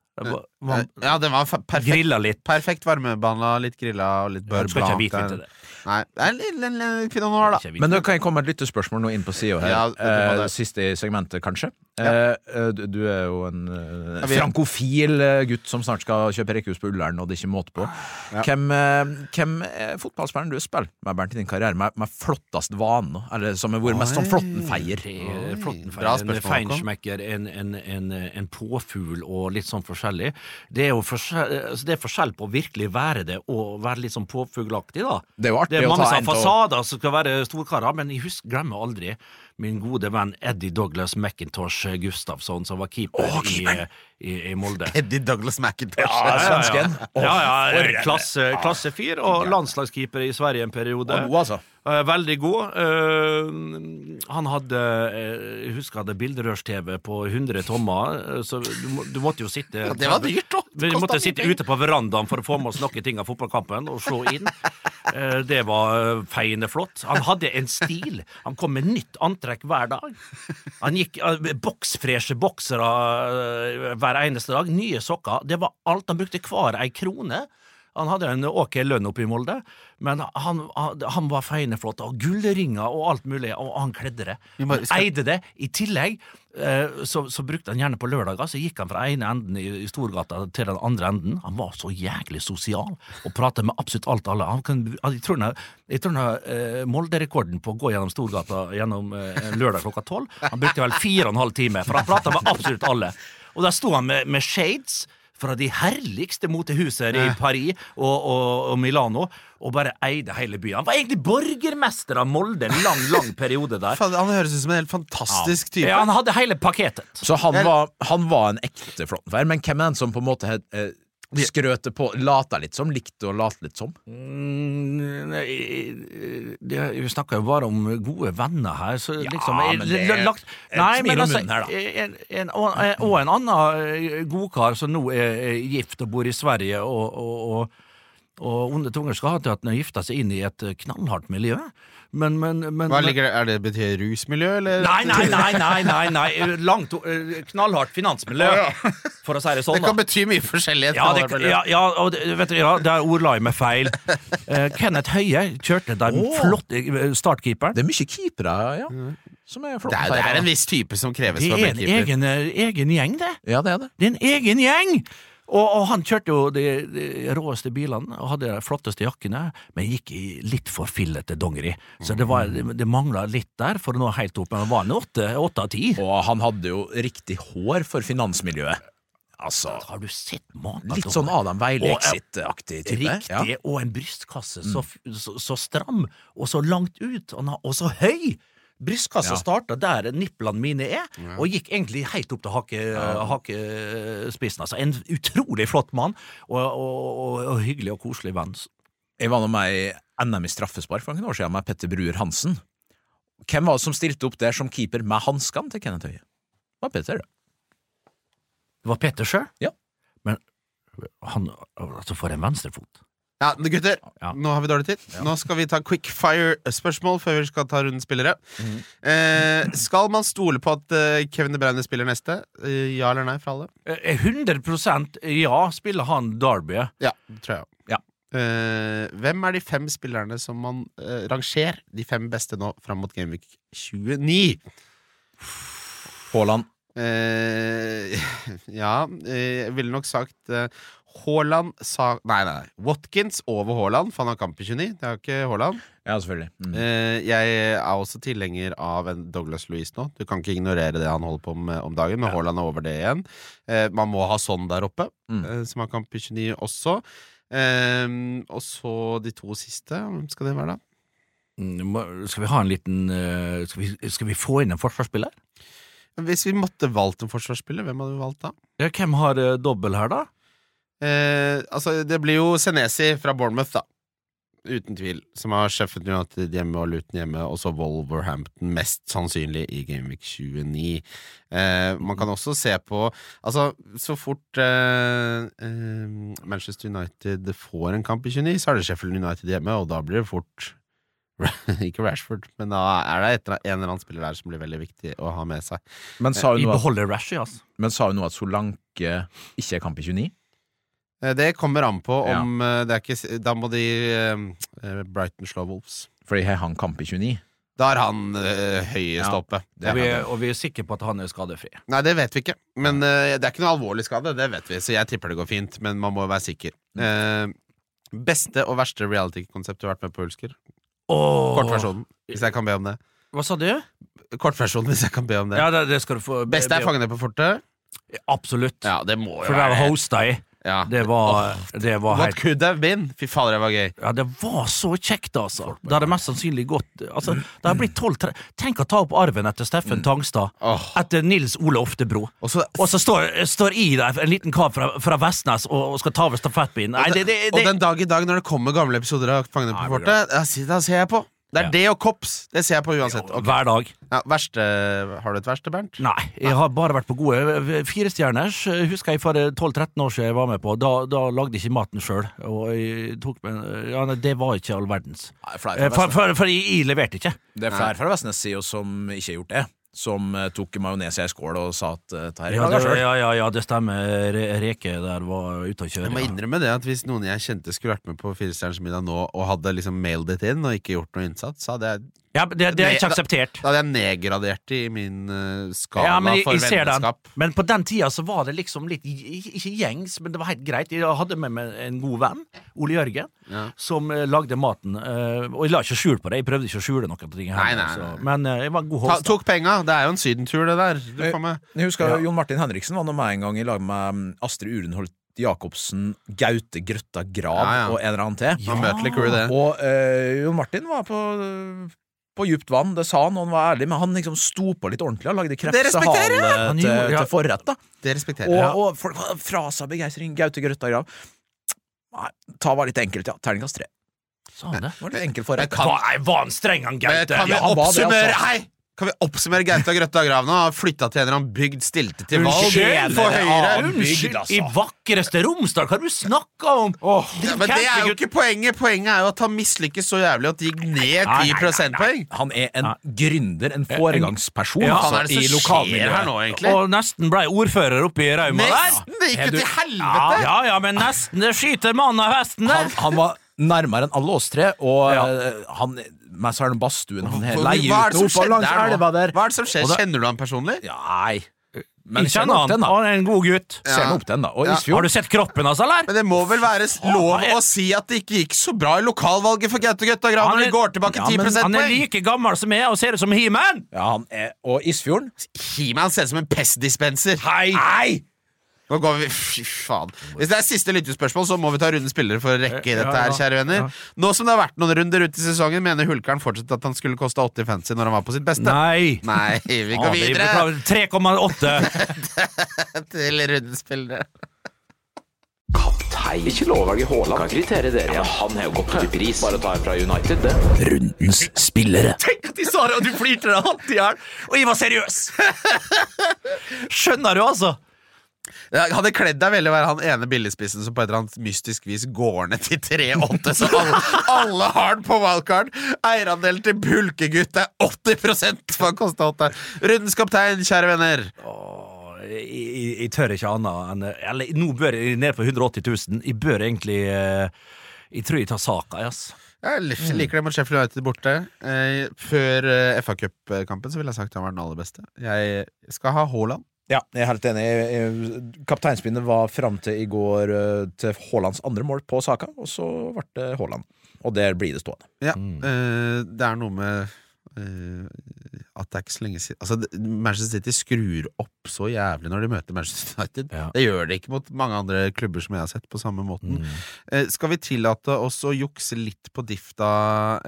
Speaker 3: Vann,
Speaker 2: Ja, den var fa- perfekt,
Speaker 3: grilla litt.
Speaker 2: perfekt varmebehandla, litt grilla og litt
Speaker 3: Ja,
Speaker 2: bør
Speaker 3: du skal ikke ha hvitvin til det.
Speaker 2: Nei, det er litt, litt, litt pinot noir, da.
Speaker 3: Ikke
Speaker 4: Men
Speaker 3: hvitvin.
Speaker 4: da kan jeg komme med et lyttespørsmål nå inn på sida her.
Speaker 2: Ja, det var det.
Speaker 4: eh, siste i segmentet, kanskje.
Speaker 2: Ja.
Speaker 4: Eh, du, du er jo en eh,
Speaker 2: Ja, vi-
Speaker 4: frankofil eh, gutt som snart skal kjøpe rekkehus på Ullern, og det er ikke måte på. Hvem, eh, hvem er fotballspilleren du har spilt med, Bernt, i din karriere med, med flottest vane? Eller som har vært mest sånn flåttenfeier?
Speaker 3: Eh, Flåttenfeil,
Speaker 2: Bra
Speaker 3: en
Speaker 2: spørsmål,
Speaker 3: feinschmecker, en, en, en, en påfugl og litt sånn forskjellig. Det er jo forskjell, altså det er forskjell på å virkelig være det og være litt sånn påfuglaktig, da.
Speaker 4: Det er jo artig
Speaker 3: Det er
Speaker 4: å
Speaker 3: mange
Speaker 4: ta
Speaker 3: som
Speaker 4: en til
Speaker 3: har
Speaker 4: å-
Speaker 3: fasader som skal være storkarer, men jeg husker, glemmer aldri min gode venn Eddie Douglas McIntosh Gustafsson, som var keeper
Speaker 2: Å, keeperen!
Speaker 3: i, i, i Molde.
Speaker 2: Eddie Douglas McIntosh.
Speaker 4: Ja, svensken.
Speaker 3: Ja, ja, ja, klasse, klassefyr og landslagskeeper i Sverige en periode.
Speaker 4: Og god, altså.
Speaker 3: Eh, Veldig god. Eh, han hadde eh, Jeg husker han hadde bilderørs-TV på 100 tommer, eh, så du, må, du måtte jo sitte
Speaker 2: det var dyrt, da. Det
Speaker 3: Vi
Speaker 2: kostet
Speaker 3: måtte
Speaker 2: mye
Speaker 3: sitte
Speaker 2: penger.
Speaker 3: ute på verandaen for å få med oss noen ting av fotballkampen og se inn. Eh, Det var eh, feiende flott. Han hadde en stil. Han kom med nytt antrekk hver dag. Han gikk eh, med boksfreshe boksere eh, hver eneste dag. Nye sokker. Det var alt. Han brukte hver ei krone. Han hadde en ok lønn oppe i Molde, men han, han, han var feiende flott. Og gullringer og alt mulig, og han kledde det.
Speaker 2: Vi må-
Speaker 3: Han
Speaker 2: skal-
Speaker 3: eide det. I tillegg eh, så, så brukte han gjerne på lørdager, så gikk han fra ene enden i, i Storgata til den andre enden. Han var så jæklig sosial og pratet med absolutt alt alle. Han kan, han- jeg tror han har- jeg tror han har eh, Molde-rekorden på å gå gjennom Storgata gjennom eh, lørdag klokka tolv. Han brukte vel fire og en halv time, for han pratet med absolutt alle. Og der sto han med, med shades. Fra de herligste motehuser i Paris og, og, og Milano, og bare eide hele byen. Han var egentlig borgermester av Molde en lang, lang periode der.
Speaker 2: Faen, Han høres ut som en helt fantastisk type.
Speaker 3: Ja, han hadde hele pakketet.
Speaker 4: Så han
Speaker 2: Jeg-
Speaker 4: var, han var en ekte flåttenfeier, men hvem er den som på en måte eh, skrøter på, later litt som, likte å late litt som?
Speaker 3: Mm, Vi snakker jo bare om gode venner her, så
Speaker 4: Ja,
Speaker 3: liksom
Speaker 4: men det
Speaker 3: la- lagt,
Speaker 4: er et
Speaker 3: Nei,
Speaker 4: smil
Speaker 3: men
Speaker 4: om
Speaker 3: altså
Speaker 4: munnen her, da.
Speaker 3: en, en, og, og en annen eh, godkar som nå er er gift og bor i Sverige, og, og, og og onde tunger skal ha til at den har gifta seg inn i et eh, knallhardt miljø, men, men, men
Speaker 2: Hva ligger det, er det betyr rusmiljø, eller?
Speaker 3: Nei, nei, nei, nei, nei, nei. Langt, eh, knallhardt finansmiljø, for å si det sånn.
Speaker 2: Det
Speaker 3: da.
Speaker 2: kan bety mye forskjellig.
Speaker 3: Ja, det, ja, ja, og det, vet du, ja, der ordla jeg meg feil. Eh, Kenneth Høie kjørte den flotte eh, startkeeperen.
Speaker 4: Det er mye keepere, ja, som er
Speaker 2: Mm. Det er, det er en
Speaker 4: flåttenfeiere.
Speaker 2: viss type som kreves
Speaker 3: Det
Speaker 2: for å
Speaker 3: er
Speaker 2: bli
Speaker 3: en
Speaker 2: keeper.
Speaker 3: egen, eh, egen gjeng, det.
Speaker 4: Ja, det er det.
Speaker 3: Det er en egen gjeng! Og, og han kjørte jo de, de råeste bilene og hadde de flotteste jakkene, men gikk i litt for fillete dongeri. Så det, var-
Speaker 4: Mm.
Speaker 3: det, det mangla litt der for å nå helt opp, men det var en åtte åtte av ti.
Speaker 4: Og han hadde jo riktig hår for finansmiljøet. Altså,
Speaker 3: Har du sett maken?
Speaker 4: litt
Speaker 3: til-
Speaker 4: sånn Adam Weilexit-aktig type.
Speaker 3: Riktig,
Speaker 4: Ja.
Speaker 3: og en brystkasse så, f- så, så stram, og så langt ut, og, na- og så høy! Brystkassa
Speaker 4: Ja.
Speaker 3: starta der nipplene mine er, og gikk egentlig helt opp til hake, hakespissen. Altså, en utrolig flott mann, og, og, og, og hyggelig og koselig venn.
Speaker 4: Jeg var nå med i NM i straffespark for noen år siden med Petter Bruer Hansen. Hvem var det som stilte opp der som keeper med hanskene til Kenneth Høie? Det var Petter, det.
Speaker 3: Det var Petter sjøl,
Speaker 4: Ja.
Speaker 3: men han altså for en venstrefot.
Speaker 2: Ja, men gutter,
Speaker 3: Ja.
Speaker 2: nå har vi dårlig tid. Nå skal vi ta quickfire-spørsmål før vi skal ta rundens spillere.
Speaker 3: Mhm.
Speaker 2: Eh, skal man stole på at eh, Kevin De Bruyne spiller neste? Eh, ja eller nei fra alle?
Speaker 3: Eh, 100 ja, spiller han Derby.
Speaker 2: Ja, det tror jeg.
Speaker 4: Ja.
Speaker 2: Eh, hvem er de fem spillerne som man eh, rangerer de fem beste nå fram mot Gameweek 29?
Speaker 4: Haaland.
Speaker 2: Eh, ja, eh, jeg ville nok sagt eh, Haaland sa Nei, nei, nei. Watkins over Haaland, for han har kamp i 29. Det har ikke Haaland.
Speaker 4: Ja, selvfølgelig. Mm.
Speaker 2: Eh, jeg er også tilhenger av en Douglas Louise nå. Du kan ikke ignorere det han holder på med om dagen, men Haaland er over det igjen. Eh, man må ha sånn der oppe,
Speaker 4: Mm.
Speaker 2: eh, som har kamp i 29 også. Eh, og så de to siste. Hvem skal det være, da?
Speaker 3: Mm, må- Skal vi ha en liten eh, Skal vi, skal vi få inn en forsvarsspiller?
Speaker 2: Hvis vi måtte valgt en forsvarsspiller, hvem hadde vi valgt da?
Speaker 3: Ja, hvem har eh, dobbel her, da?
Speaker 2: Eh, altså, det blir jo Senesi fra Bournemouth, da. Uten tvil. Som har Sheffield United hjemme og Luton hjemme, og så Wolverhampton mest sannsynlig i Gameweek 29. Eh, man kan også se på Altså, så fort eh, eh, Manchester United får en kamp i 29, så er det Sheffield United hjemme, og da blir det fort Ikke Rashford, men da er det et, eller- en eller annen spiller der som blir veldig viktig å ha med seg.
Speaker 4: Men sa
Speaker 3: Vi
Speaker 4: hun nå at,
Speaker 3: beholder Rashie, altså.
Speaker 4: men sa hun nå at Solanke ikke er kamp i 29?
Speaker 2: Eh, Det kommer an på
Speaker 4: Ja.
Speaker 2: om eh, det er ikke, s- Da må de eh, eh, Brighton slå Wolves.
Speaker 4: Fordi har han kamp i 29?
Speaker 2: Da er han eh,
Speaker 4: Ja,
Speaker 2: høyest oppe.
Speaker 3: Og vi, er, og vi er sikre på at han er skadefri.
Speaker 2: Nei, det vet vi ikke. Men eh, det er ikke noe alvorlig skade, det vet vi, så jeg tipper det går fint. Men man må være sikker. Eh, beste og verste reality-konsept du har vært med på, Ulsker? Kortversjonen, hvis jeg kan be om det.
Speaker 3: Hva sa du?
Speaker 2: Kortversjonen, hvis jeg kan be om det.
Speaker 3: Ja, det, det skal du få
Speaker 2: Beste er Fangene på fortet.
Speaker 3: Absolutt.
Speaker 2: Ja, det må jo
Speaker 3: For det er
Speaker 2: være
Speaker 3: hosta i.
Speaker 2: Ja.
Speaker 3: Det var, det var
Speaker 2: What
Speaker 3: helt
Speaker 2: could have been? Fy fader, det var gøy.
Speaker 3: ja, Det var så kjekt, altså! Det hadde mest sannsynlig gått altså, Det hadde blitt 12 tre- Tenk å ta opp arven etter Steffen Tangstad.
Speaker 2: Mm. Åh.
Speaker 3: Etter Nils Ole Oftebro.
Speaker 4: Og så-
Speaker 3: Og så står, står i der en liten kar fra, fra Vestnes og, og skal ta over stafettpinnen. Nei, det, det,
Speaker 2: Og
Speaker 3: det,
Speaker 2: den dag i dag, når det kommer gamle episoder av Fangene på
Speaker 4: Nei,
Speaker 2: fortet, da sier- da ser jeg på. Det er
Speaker 3: Ja.
Speaker 2: det og kops. Det ser jeg på uansett. Ok.
Speaker 3: Hver dag.
Speaker 2: Ja, verste, har du et verste, Bernt?
Speaker 3: Nei, jeg har bare vært på gode eh, firestjerners. Eh, Husker jeg for 12-13 år siden jeg var med på. Da, da lagde jeg ikke maten sjøl. Og jeg tok med eh, Ja, nei, det var ikke all verdens.
Speaker 4: Nei, flere
Speaker 3: Eh,
Speaker 4: fra
Speaker 3: For,
Speaker 4: Vestnes-
Speaker 3: for, for jeg, jeg leverte ikke.
Speaker 4: Det er flere fra Vestnes sida som ikke har gjort det. Som eh, tok majones i ei skål og sa at eh, ta her i
Speaker 3: Ja,
Speaker 4: laga
Speaker 3: det,
Speaker 4: selv.
Speaker 3: ja, ja, ja, det stemmer. Re- Reke der var ute å kjøre.
Speaker 2: Jeg må
Speaker 3: ja.
Speaker 2: innrømme det at Hvis noen jeg kjente skulle vært med på Firestjerners middag nå, og hadde liksom mailed it inn og ikke gjort noe innsats, så hadde jeg,
Speaker 3: Ja, men det, det er ikke
Speaker 2: Nei,
Speaker 3: akseptert.
Speaker 2: da hadde jeg nedgradert det i min eh, skala
Speaker 3: Ja, men jeg,
Speaker 2: for
Speaker 3: jeg ser den.
Speaker 2: vennskap.
Speaker 3: Men på den tida så var det liksom litt i- Ikke gjengs, men det var helt greit. Jeg hadde med meg en god venn, Ole Jørgen,
Speaker 2: Ja.
Speaker 3: som eh, lagde maten. eh, Og jeg la ikke skjul på det. Jeg prøvde ikke å skjule noen ting. her,
Speaker 2: Nei, nei,
Speaker 3: altså. Men eh, jeg var en god
Speaker 2: Ta,
Speaker 3: host. da.
Speaker 2: tok penga. Det er jo en sydentur, det der.
Speaker 3: Eh,
Speaker 2: Du får med.
Speaker 4: Jeg husker Jon Martin Henriksen var nå med en gang i lag med mm, Astrid Urenholt Jacobsen, Gaute Grøtta Grav
Speaker 2: Ja, ja.
Speaker 4: og en eller annen til.
Speaker 2: Ja. Møtelig crew, det.
Speaker 4: Og eh, Jon Martin var på på djupt vann, det sa han, og han var ærlig, men han liksom sto på litt ordentlig. Han lagde krepsehale
Speaker 2: respekterer
Speaker 3: Han
Speaker 4: til,
Speaker 3: gjorde- ja.
Speaker 4: til forrett, da.
Speaker 2: Det respekterer
Speaker 4: Og,
Speaker 2: jeg.
Speaker 4: og folk var fra seg begeistring. Gaute Grøtta Grav. Nei, ta var litt enkelt, ja. Terningkast tre.
Speaker 3: Sa han det?
Speaker 4: Det Var litt enkel forrett.
Speaker 3: Var, nei, var han streng, han
Speaker 2: Men
Speaker 3: Gaute?
Speaker 2: Eh, Kan vi
Speaker 4: Ja, han var det,
Speaker 2: oppsummere
Speaker 4: altså.
Speaker 2: Hei! Kan vi oppsummere Gaute Grøtta Grav nå? Han Flytta til en eller annen bygd, stilte til valg
Speaker 3: Unnskyld,
Speaker 2: for Høyre.
Speaker 4: annen bygd,
Speaker 3: Unnskyld,
Speaker 4: altså.
Speaker 3: i vakreste Romsdal, hva er det du snakker om?
Speaker 2: Ja, men det er jo ikke poenget. Poenget er jo at han mislykkes så jævlig at det gikk ned
Speaker 3: nei,
Speaker 2: 10 prosentpoeng.
Speaker 4: Han er en gründer, en foregangsperson,
Speaker 3: Ja,
Speaker 2: Hva
Speaker 4: altså,
Speaker 2: er det
Speaker 4: i
Speaker 2: som skjer her nå,
Speaker 4: lokalmiljøet.
Speaker 2: egentlig?
Speaker 3: Og nesten blei ordfører oppe i Rauma der.
Speaker 2: Nesten! Det gikk
Speaker 4: Er
Speaker 2: jo
Speaker 4: du-
Speaker 2: til
Speaker 3: Ja,
Speaker 2: helvete!
Speaker 3: ja, ja, men nesten. Det skyter mannen av hesten
Speaker 4: han,
Speaker 3: der.
Speaker 4: han var nærmere enn alle oss tre, og
Speaker 3: Ja.
Speaker 4: eh, han meg så er den badstuen han
Speaker 2: Hva-
Speaker 4: leier
Speaker 2: Hva er
Speaker 4: ut
Speaker 2: det
Speaker 4: opp
Speaker 2: som
Speaker 4: og
Speaker 2: skjer
Speaker 4: langs
Speaker 2: der
Speaker 4: elva
Speaker 2: nå?
Speaker 4: der.
Speaker 2: Hva er det som skjer?
Speaker 4: Og da-
Speaker 2: Kjenner du han personlig?
Speaker 4: Ja, Nei. Men
Speaker 3: Jeg kjenner
Speaker 4: opp
Speaker 3: han.
Speaker 4: den, da.
Speaker 3: Han er en god gutt.
Speaker 4: Kjenn opp den, da. Og
Speaker 2: Ja.
Speaker 3: Har
Speaker 4: Isfjord.
Speaker 3: du sett kroppen hans, eller?
Speaker 2: Men det må vel være s- lov å si at det ikke gikk så bra i lokalvalget for Gaute Grøtta Grav
Speaker 3: Han
Speaker 2: når
Speaker 3: er-
Speaker 2: de går tilbake
Speaker 4: Ja,
Speaker 2: 10
Speaker 4: men
Speaker 3: Han er
Speaker 2: prosentpoeng?
Speaker 3: like gammel som jeg og ser ut som He-Man!
Speaker 4: Ja, han er, og Isfjorden
Speaker 2: He-Man ser ut som en pestdispenser. Hei! Nå går vi, fy faen Hvis det er siste lyttespørsmål, så må vi ta rundens spillere for å rekke dette her, kjære venner. Nå som det har vært noen runder ut i sesongen, mener Hulkeren fortsatt at han skulle kosta 80 fancy når han var på sitt beste.
Speaker 3: Nei.
Speaker 2: Nei, vi går videre
Speaker 3: beklager. 3,8.
Speaker 2: til rundens spillere.
Speaker 1: Kaptein. Ikke lovverket Haaland. Kan kritere dere. Ja, han har jo gått ut i pris. Bare å ta en fra United, det.
Speaker 4: Rundens spillere.
Speaker 3: Tenk at de sa det, og du flirte deg hatt i hjel! Og jeg var seriøs! Skjønner du, altså?
Speaker 2: Jeg hadde kledd deg veldig å være han ene billigspissen som på et eller annet mystisk vis går ned til 3-8, så alle, alle har den på wildcard. Eierandelen til Bulkegutt er 80 for han kosta 8. Rundens kaptein, kjære venner.
Speaker 3: Jeg, jeg- jeg tør ikke annet enn Eller nå bør jeg ned på 180 000. Jeg bør egentlig eh, Jeg tror jeg tar saka, jeg, ass.
Speaker 2: Jeg lik- liker det mot Sheffield United borte. Eh, før eh, FA-cupkampen så ville jeg sagt han var den aller beste. Jeg skal ha Haaland.
Speaker 4: Ja, jeg er helt enig. Kapteinspinnet var fram til i går eh, til Haalands andre mål på Saka, og så ble det Haaland. Og der blir det stående.
Speaker 2: Ja, eh, det er noe med eh, at det er ikke så lenge siden Altså, det- Manchester City skrur opp så jævlig når de møter Manchester United.
Speaker 3: Ja.
Speaker 2: Det gjør det ikke mot mange andre klubber som jeg har sett på samme måten. Eh, skal vi tillate oss å jukse litt på difta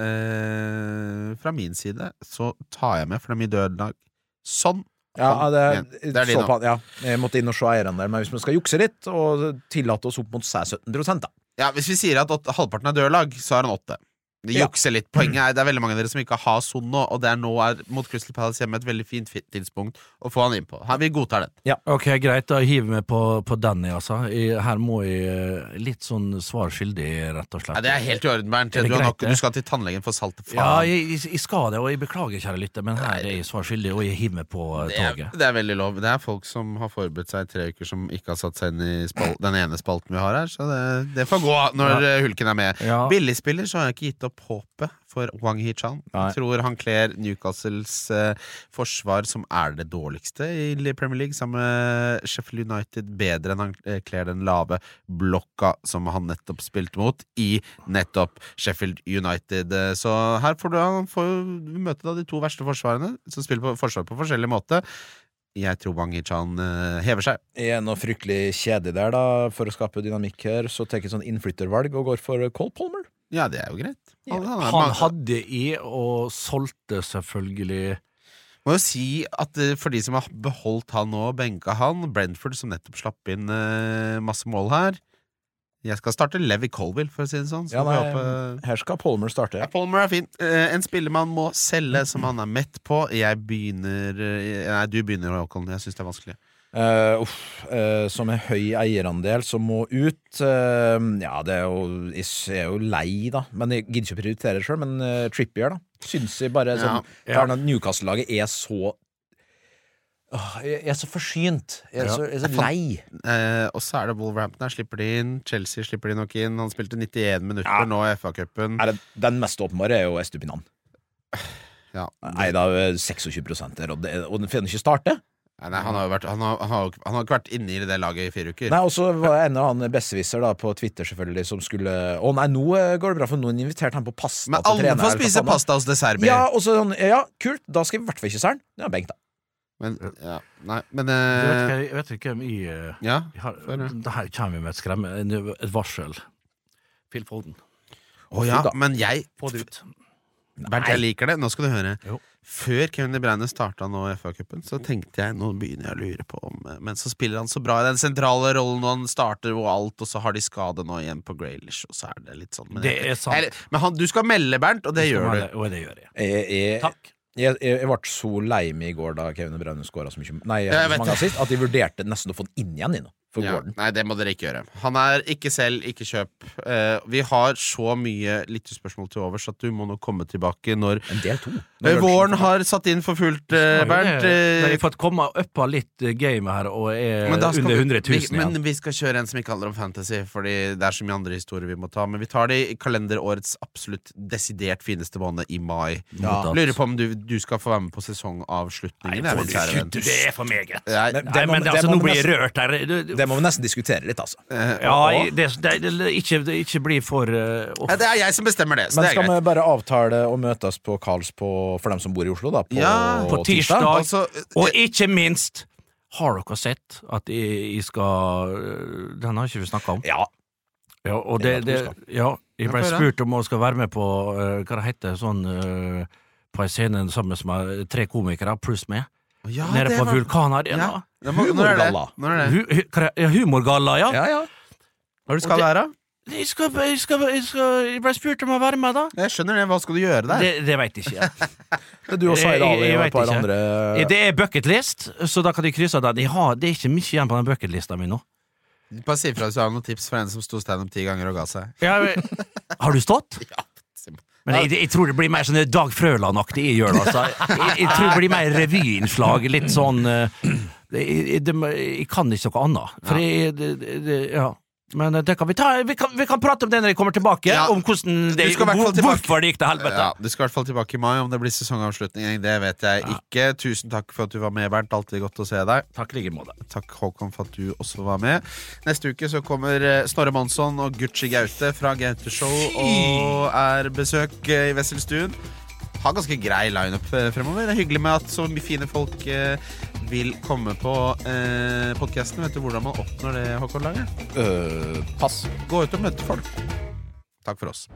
Speaker 2: eh, fra min side, så tar jeg med for dem i dødlag. Sånn.
Speaker 4: Ja,
Speaker 2: Sånn.
Speaker 4: det,
Speaker 2: Ja, det er din
Speaker 4: eh, så
Speaker 2: nå.
Speaker 4: på han, ja. Jeg måtte inn og se eierne der, men hvis vi skal jukse litt og tillate oss opp mot seg 17 da.
Speaker 2: Ja, Hvis vi sier at åtte, halvparten er dørlag, så er han åtte. Det
Speaker 4: Ja.
Speaker 2: jukser litt. Poenget er det er veldig mange av dere som ikke har Son nå, og det er nå er mot Crystal Palace hjemme et veldig fint fi- tidspunkt å få han inn på. Her, vi godtar den.
Speaker 3: Ok, greit, da hiver vi på, på Danny, altså. Jeg, her må jeg eh, litt sånn svar skyldig, rett og slett.
Speaker 2: Ja, det er helt i orden, Bernt.
Speaker 3: Er det
Speaker 2: Du, har
Speaker 3: greit,
Speaker 2: nok,
Speaker 3: det?
Speaker 2: du skal til tannlegen for salt. Faen.
Speaker 3: Ja, jeg, jeg- jeg skal det, og jeg beklager, kjære lytter, men her er jeg svar skyldig, og jeg hiver meg på eh,
Speaker 2: det, er,
Speaker 3: toget.
Speaker 2: det er veldig lov. Det er folk som har forberedt seg i tre uker, som ikke har satt seg inn i spal den ene spalten vi har her, så det, det får gå når eh, Hulken er med.
Speaker 3: Ja.
Speaker 2: Billigspiller så har jeg ikke gitt opp håpet for Wang Hee-chan.
Speaker 4: Nei.
Speaker 2: Jeg tror han kler Newcastles eh, forsvar, som er det dårligste i Premier League, sammen med Sheffield United, bedre enn han eh, kler den lave blokka som han nettopp spilte mot, i nettopp Sheffield United. Eh, Så her får du, han får jo møte da de to verste forsvarene, som spiller på forsvar på forskjellig måte. Jeg tror Bangi-chan eh, hever seg.
Speaker 4: Er noe fryktelig kjedelig der, da, for å skape dynamikk her, så tar jeg et sånn innflyttervalg og går for Cole Palmer.
Speaker 2: Ja, det er jo greit. Han, han er,
Speaker 3: Han hadde i, og solgte selvfølgelig
Speaker 2: Må jo si at eh, for de som har beholdt han og benka han, Brentford som nettopp slapp inn eh, masse mål her Jeg skal starte Levi Colville, for å si det sånn. Så
Speaker 4: Ja,
Speaker 2: får vi
Speaker 4: nei,
Speaker 2: håpe-
Speaker 4: Her skal Palmer starte.
Speaker 2: ja, Palmer er fin. Eh, En spiller man må selge som han er mett på. Jeg begynner eh, Nei, du begynner, Håkon. Jeg syns det er vanskelig.
Speaker 4: Eh, uff, eh, som er høy eierandel, som må ut. Eh, ja, det er jo, jeg s- er jo lei, da. Men jeg gidder ikke å prioritere sjøl. Men eh, Trippier, da. Syns jeg bare sånn,
Speaker 3: Ja.
Speaker 4: der når Newcastle-laget er så Åh, Jeg jeg er så forsynt. Jeg er
Speaker 3: Ja.
Speaker 4: så, jeg er så lei.
Speaker 2: Eh, og så er det Wolverhampton her. Slipper de inn. Chelsea slipper de nok inn. Han spilte 91 minutter
Speaker 4: Ja.
Speaker 2: nå i FA-cupen.
Speaker 4: Er det, den mest åpenbare er jo Estupinan.
Speaker 2: Ja.
Speaker 4: Nei, da eh, er det 26 der, og, det, og den får den ikke starte.
Speaker 2: Nei, nei, han har jo vært, han har, han har, jo ikke- han har ikke vært inne i det laget i fire uker.
Speaker 4: Nei, Og så var det en eller annen besserwisser da, på Twitter selvfølgelig som skulle Å nei, nå eh, går det bra, for noen inviterte han på pasta
Speaker 2: Men
Speaker 4: til
Speaker 2: alle
Speaker 4: trener,
Speaker 2: får
Speaker 4: eller hva
Speaker 2: spise
Speaker 4: faen det var.
Speaker 2: pasta hos Deserbi.
Speaker 4: Ja, og så sånn, ja, kult, da skal vi i hvert fall ikke sær'n. Ja, benk, da.
Speaker 2: Men, ja, nei, men
Speaker 3: Jeg vet
Speaker 2: eh,
Speaker 3: ikke- jeg vet ikke hvem i eh,
Speaker 2: Ja.
Speaker 3: vi har,
Speaker 2: Hør nå.
Speaker 3: Det her kommer vi med et skremme en- Et varsel. Phil Foden.
Speaker 2: Å ja,
Speaker 4: da.
Speaker 2: men jeg
Speaker 3: Få det ut.
Speaker 2: Bernt, jeg liker det. Nå skal du høre.
Speaker 3: Jo.
Speaker 2: Før Kevin De Bruyne starta nå i FA-cupen, så tenkte jeg nå begynner jeg å lure på om eh, Men så spiller han så bra i den sentrale rollen, og han starter og alt, og så har de skade nå igjen på Graylish, og så er det litt sånn Men,
Speaker 3: Det er sant.
Speaker 2: Eller- men han, du skal melde, Bernt, og det gjør du.
Speaker 3: Og det gjør jeg.
Speaker 4: Jeg, jeg,
Speaker 3: Takk.
Speaker 4: jeg, jeg, jeg ble så lei meg i går da Kevin De Bruyne skåra så mye Nei,
Speaker 2: jeg
Speaker 4: så
Speaker 2: vet
Speaker 4: mange
Speaker 2: det.
Speaker 4: assist, at jeg vurderte nesten å få den inn igjen. Inn, for
Speaker 2: Ja,
Speaker 4: Gordon.
Speaker 2: nei, det må dere ikke gjøre. Han er ikke selv, ikke kjøp. Eh, vi har så mye lyttespørsmål til overs at du må nå komme tilbake når
Speaker 4: En del to.
Speaker 2: Eh,
Speaker 4: liksom-
Speaker 2: Våren har satt inn for fullt, eh, Bernt. eh,
Speaker 3: Men jeg har fått komme opp av litt eh, game her og er
Speaker 2: men da skal
Speaker 3: under
Speaker 2: vi-
Speaker 3: 100 000
Speaker 2: vi,
Speaker 3: igjen.
Speaker 2: Men vi skal kjøre en som ikke handler om fantasy, Fordi det er så mye andre historier vi må ta. Men vi tar det i kalenderårets absolutt desidert fineste måned, i mai.
Speaker 3: Ja.
Speaker 2: Lurer på om du, du skal få være med på sesongavslutningen. jeg, min kjære venn.
Speaker 3: det er for meget.
Speaker 2: Nei,
Speaker 4: Men-
Speaker 3: Nei,
Speaker 4: Det må-
Speaker 3: men det,
Speaker 4: det
Speaker 3: altså,
Speaker 4: må
Speaker 3: nå
Speaker 4: vi
Speaker 3: blir jeg
Speaker 4: nesten-
Speaker 3: rørt her. Du- du-
Speaker 4: Det må vi nesten diskutere litt, altså.
Speaker 2: eh,
Speaker 3: Ja, jeg- det, det, det, ikke, det, ikke bli for eh, off.
Speaker 2: ja, det er jeg som bestemmer det, så
Speaker 4: Men
Speaker 2: det
Speaker 4: skal
Speaker 2: er greit.
Speaker 4: vi bare avtale å møtes på Karls på, for dem som bor i Oslo, da? På,
Speaker 2: Ja,
Speaker 3: på tirsdag.
Speaker 2: Altså,
Speaker 3: Og ikke minst har dere sett at jeg, jeg skal eh, Den har ikke vi snakka om.
Speaker 4: Ja.
Speaker 3: Ja, og
Speaker 4: Det er
Speaker 3: det,
Speaker 4: at
Speaker 3: det,
Speaker 4: hun
Speaker 3: ja, jeg ble
Speaker 2: Ja, få høre.
Speaker 3: spurt om hun skal være med på eh, hva det heter sånn eh, på en scene sammen med tre komikere pluss meg.
Speaker 2: ja,
Speaker 3: nede
Speaker 2: det
Speaker 3: på
Speaker 2: var-
Speaker 3: Vulkanarena.
Speaker 2: Ja. Det må- Når er det?
Speaker 4: Humorgalla.
Speaker 2: Når er det?
Speaker 3: Hu, hu, hva det- ja, humorgalla, ja.
Speaker 4: ja, ja.
Speaker 2: Når du skal være?
Speaker 3: Jeg, skal, jeg, skal, jeg, skal, jeg ble spurt om å være med, da.
Speaker 2: Jeg skjønner det. Hva skal du gjøre der?
Speaker 3: Det, det veit jeg ikke.
Speaker 4: Det er du og
Speaker 3: Jeg-
Speaker 4: Zaid Ali
Speaker 3: jeg
Speaker 4: og
Speaker 3: vet
Speaker 4: et par
Speaker 3: ikke.
Speaker 4: andre
Speaker 3: Det er bucketlist, så da kan jeg krysse den. Jeg har, det er ikke mye igjen på den bucketlista mi nå.
Speaker 2: Bare si ifra hvis du har noen tips fra en som sto standup ti ganger og ga seg.
Speaker 3: har du stått?
Speaker 2: Ja,
Speaker 3: Men jeg, jeg tror det blir mer sånn Dag Frøland-aktig jeg gjør det. Altså. Jeg, jeg tror det blir mer revyinnslag. Litt sånn eh, jeg, jeg, det må- jeg kan ikke noe annet. For jeg, det, det, det- ja. Men eh, det kan vi, ta, vi, kan, vi kan prate om det når jeg kommer tilbake.
Speaker 2: Ja.
Speaker 3: Om hvordan det,
Speaker 2: Du skal i hvert fall
Speaker 3: hvor,
Speaker 2: tilbake.
Speaker 3: hvorfor det gikk til helvete.
Speaker 2: ja, du skal i hvert fall tilbake i mai om det blir sesongavslutning. Det vet jeg ikke. Tusen takk for at du var med, Bernt. Alltid godt å se deg.
Speaker 3: Takk i like måte.
Speaker 2: Takk, Håkon, for at du også var med. Neste uke så kommer eh, Snorre Monsson og Gucci Gaute fra Gaute Show og er besøk eh, i Wesselstuen. Har ganske grei lineup eh, fremover. Det er hyggelig med at så mye fine folk eh, vil komme på eh, podkasten. Vet du hvordan man oppnår det, Håkon Lange?
Speaker 4: Øh, Pass.
Speaker 2: Gå ut og møte folk. Takk for oss.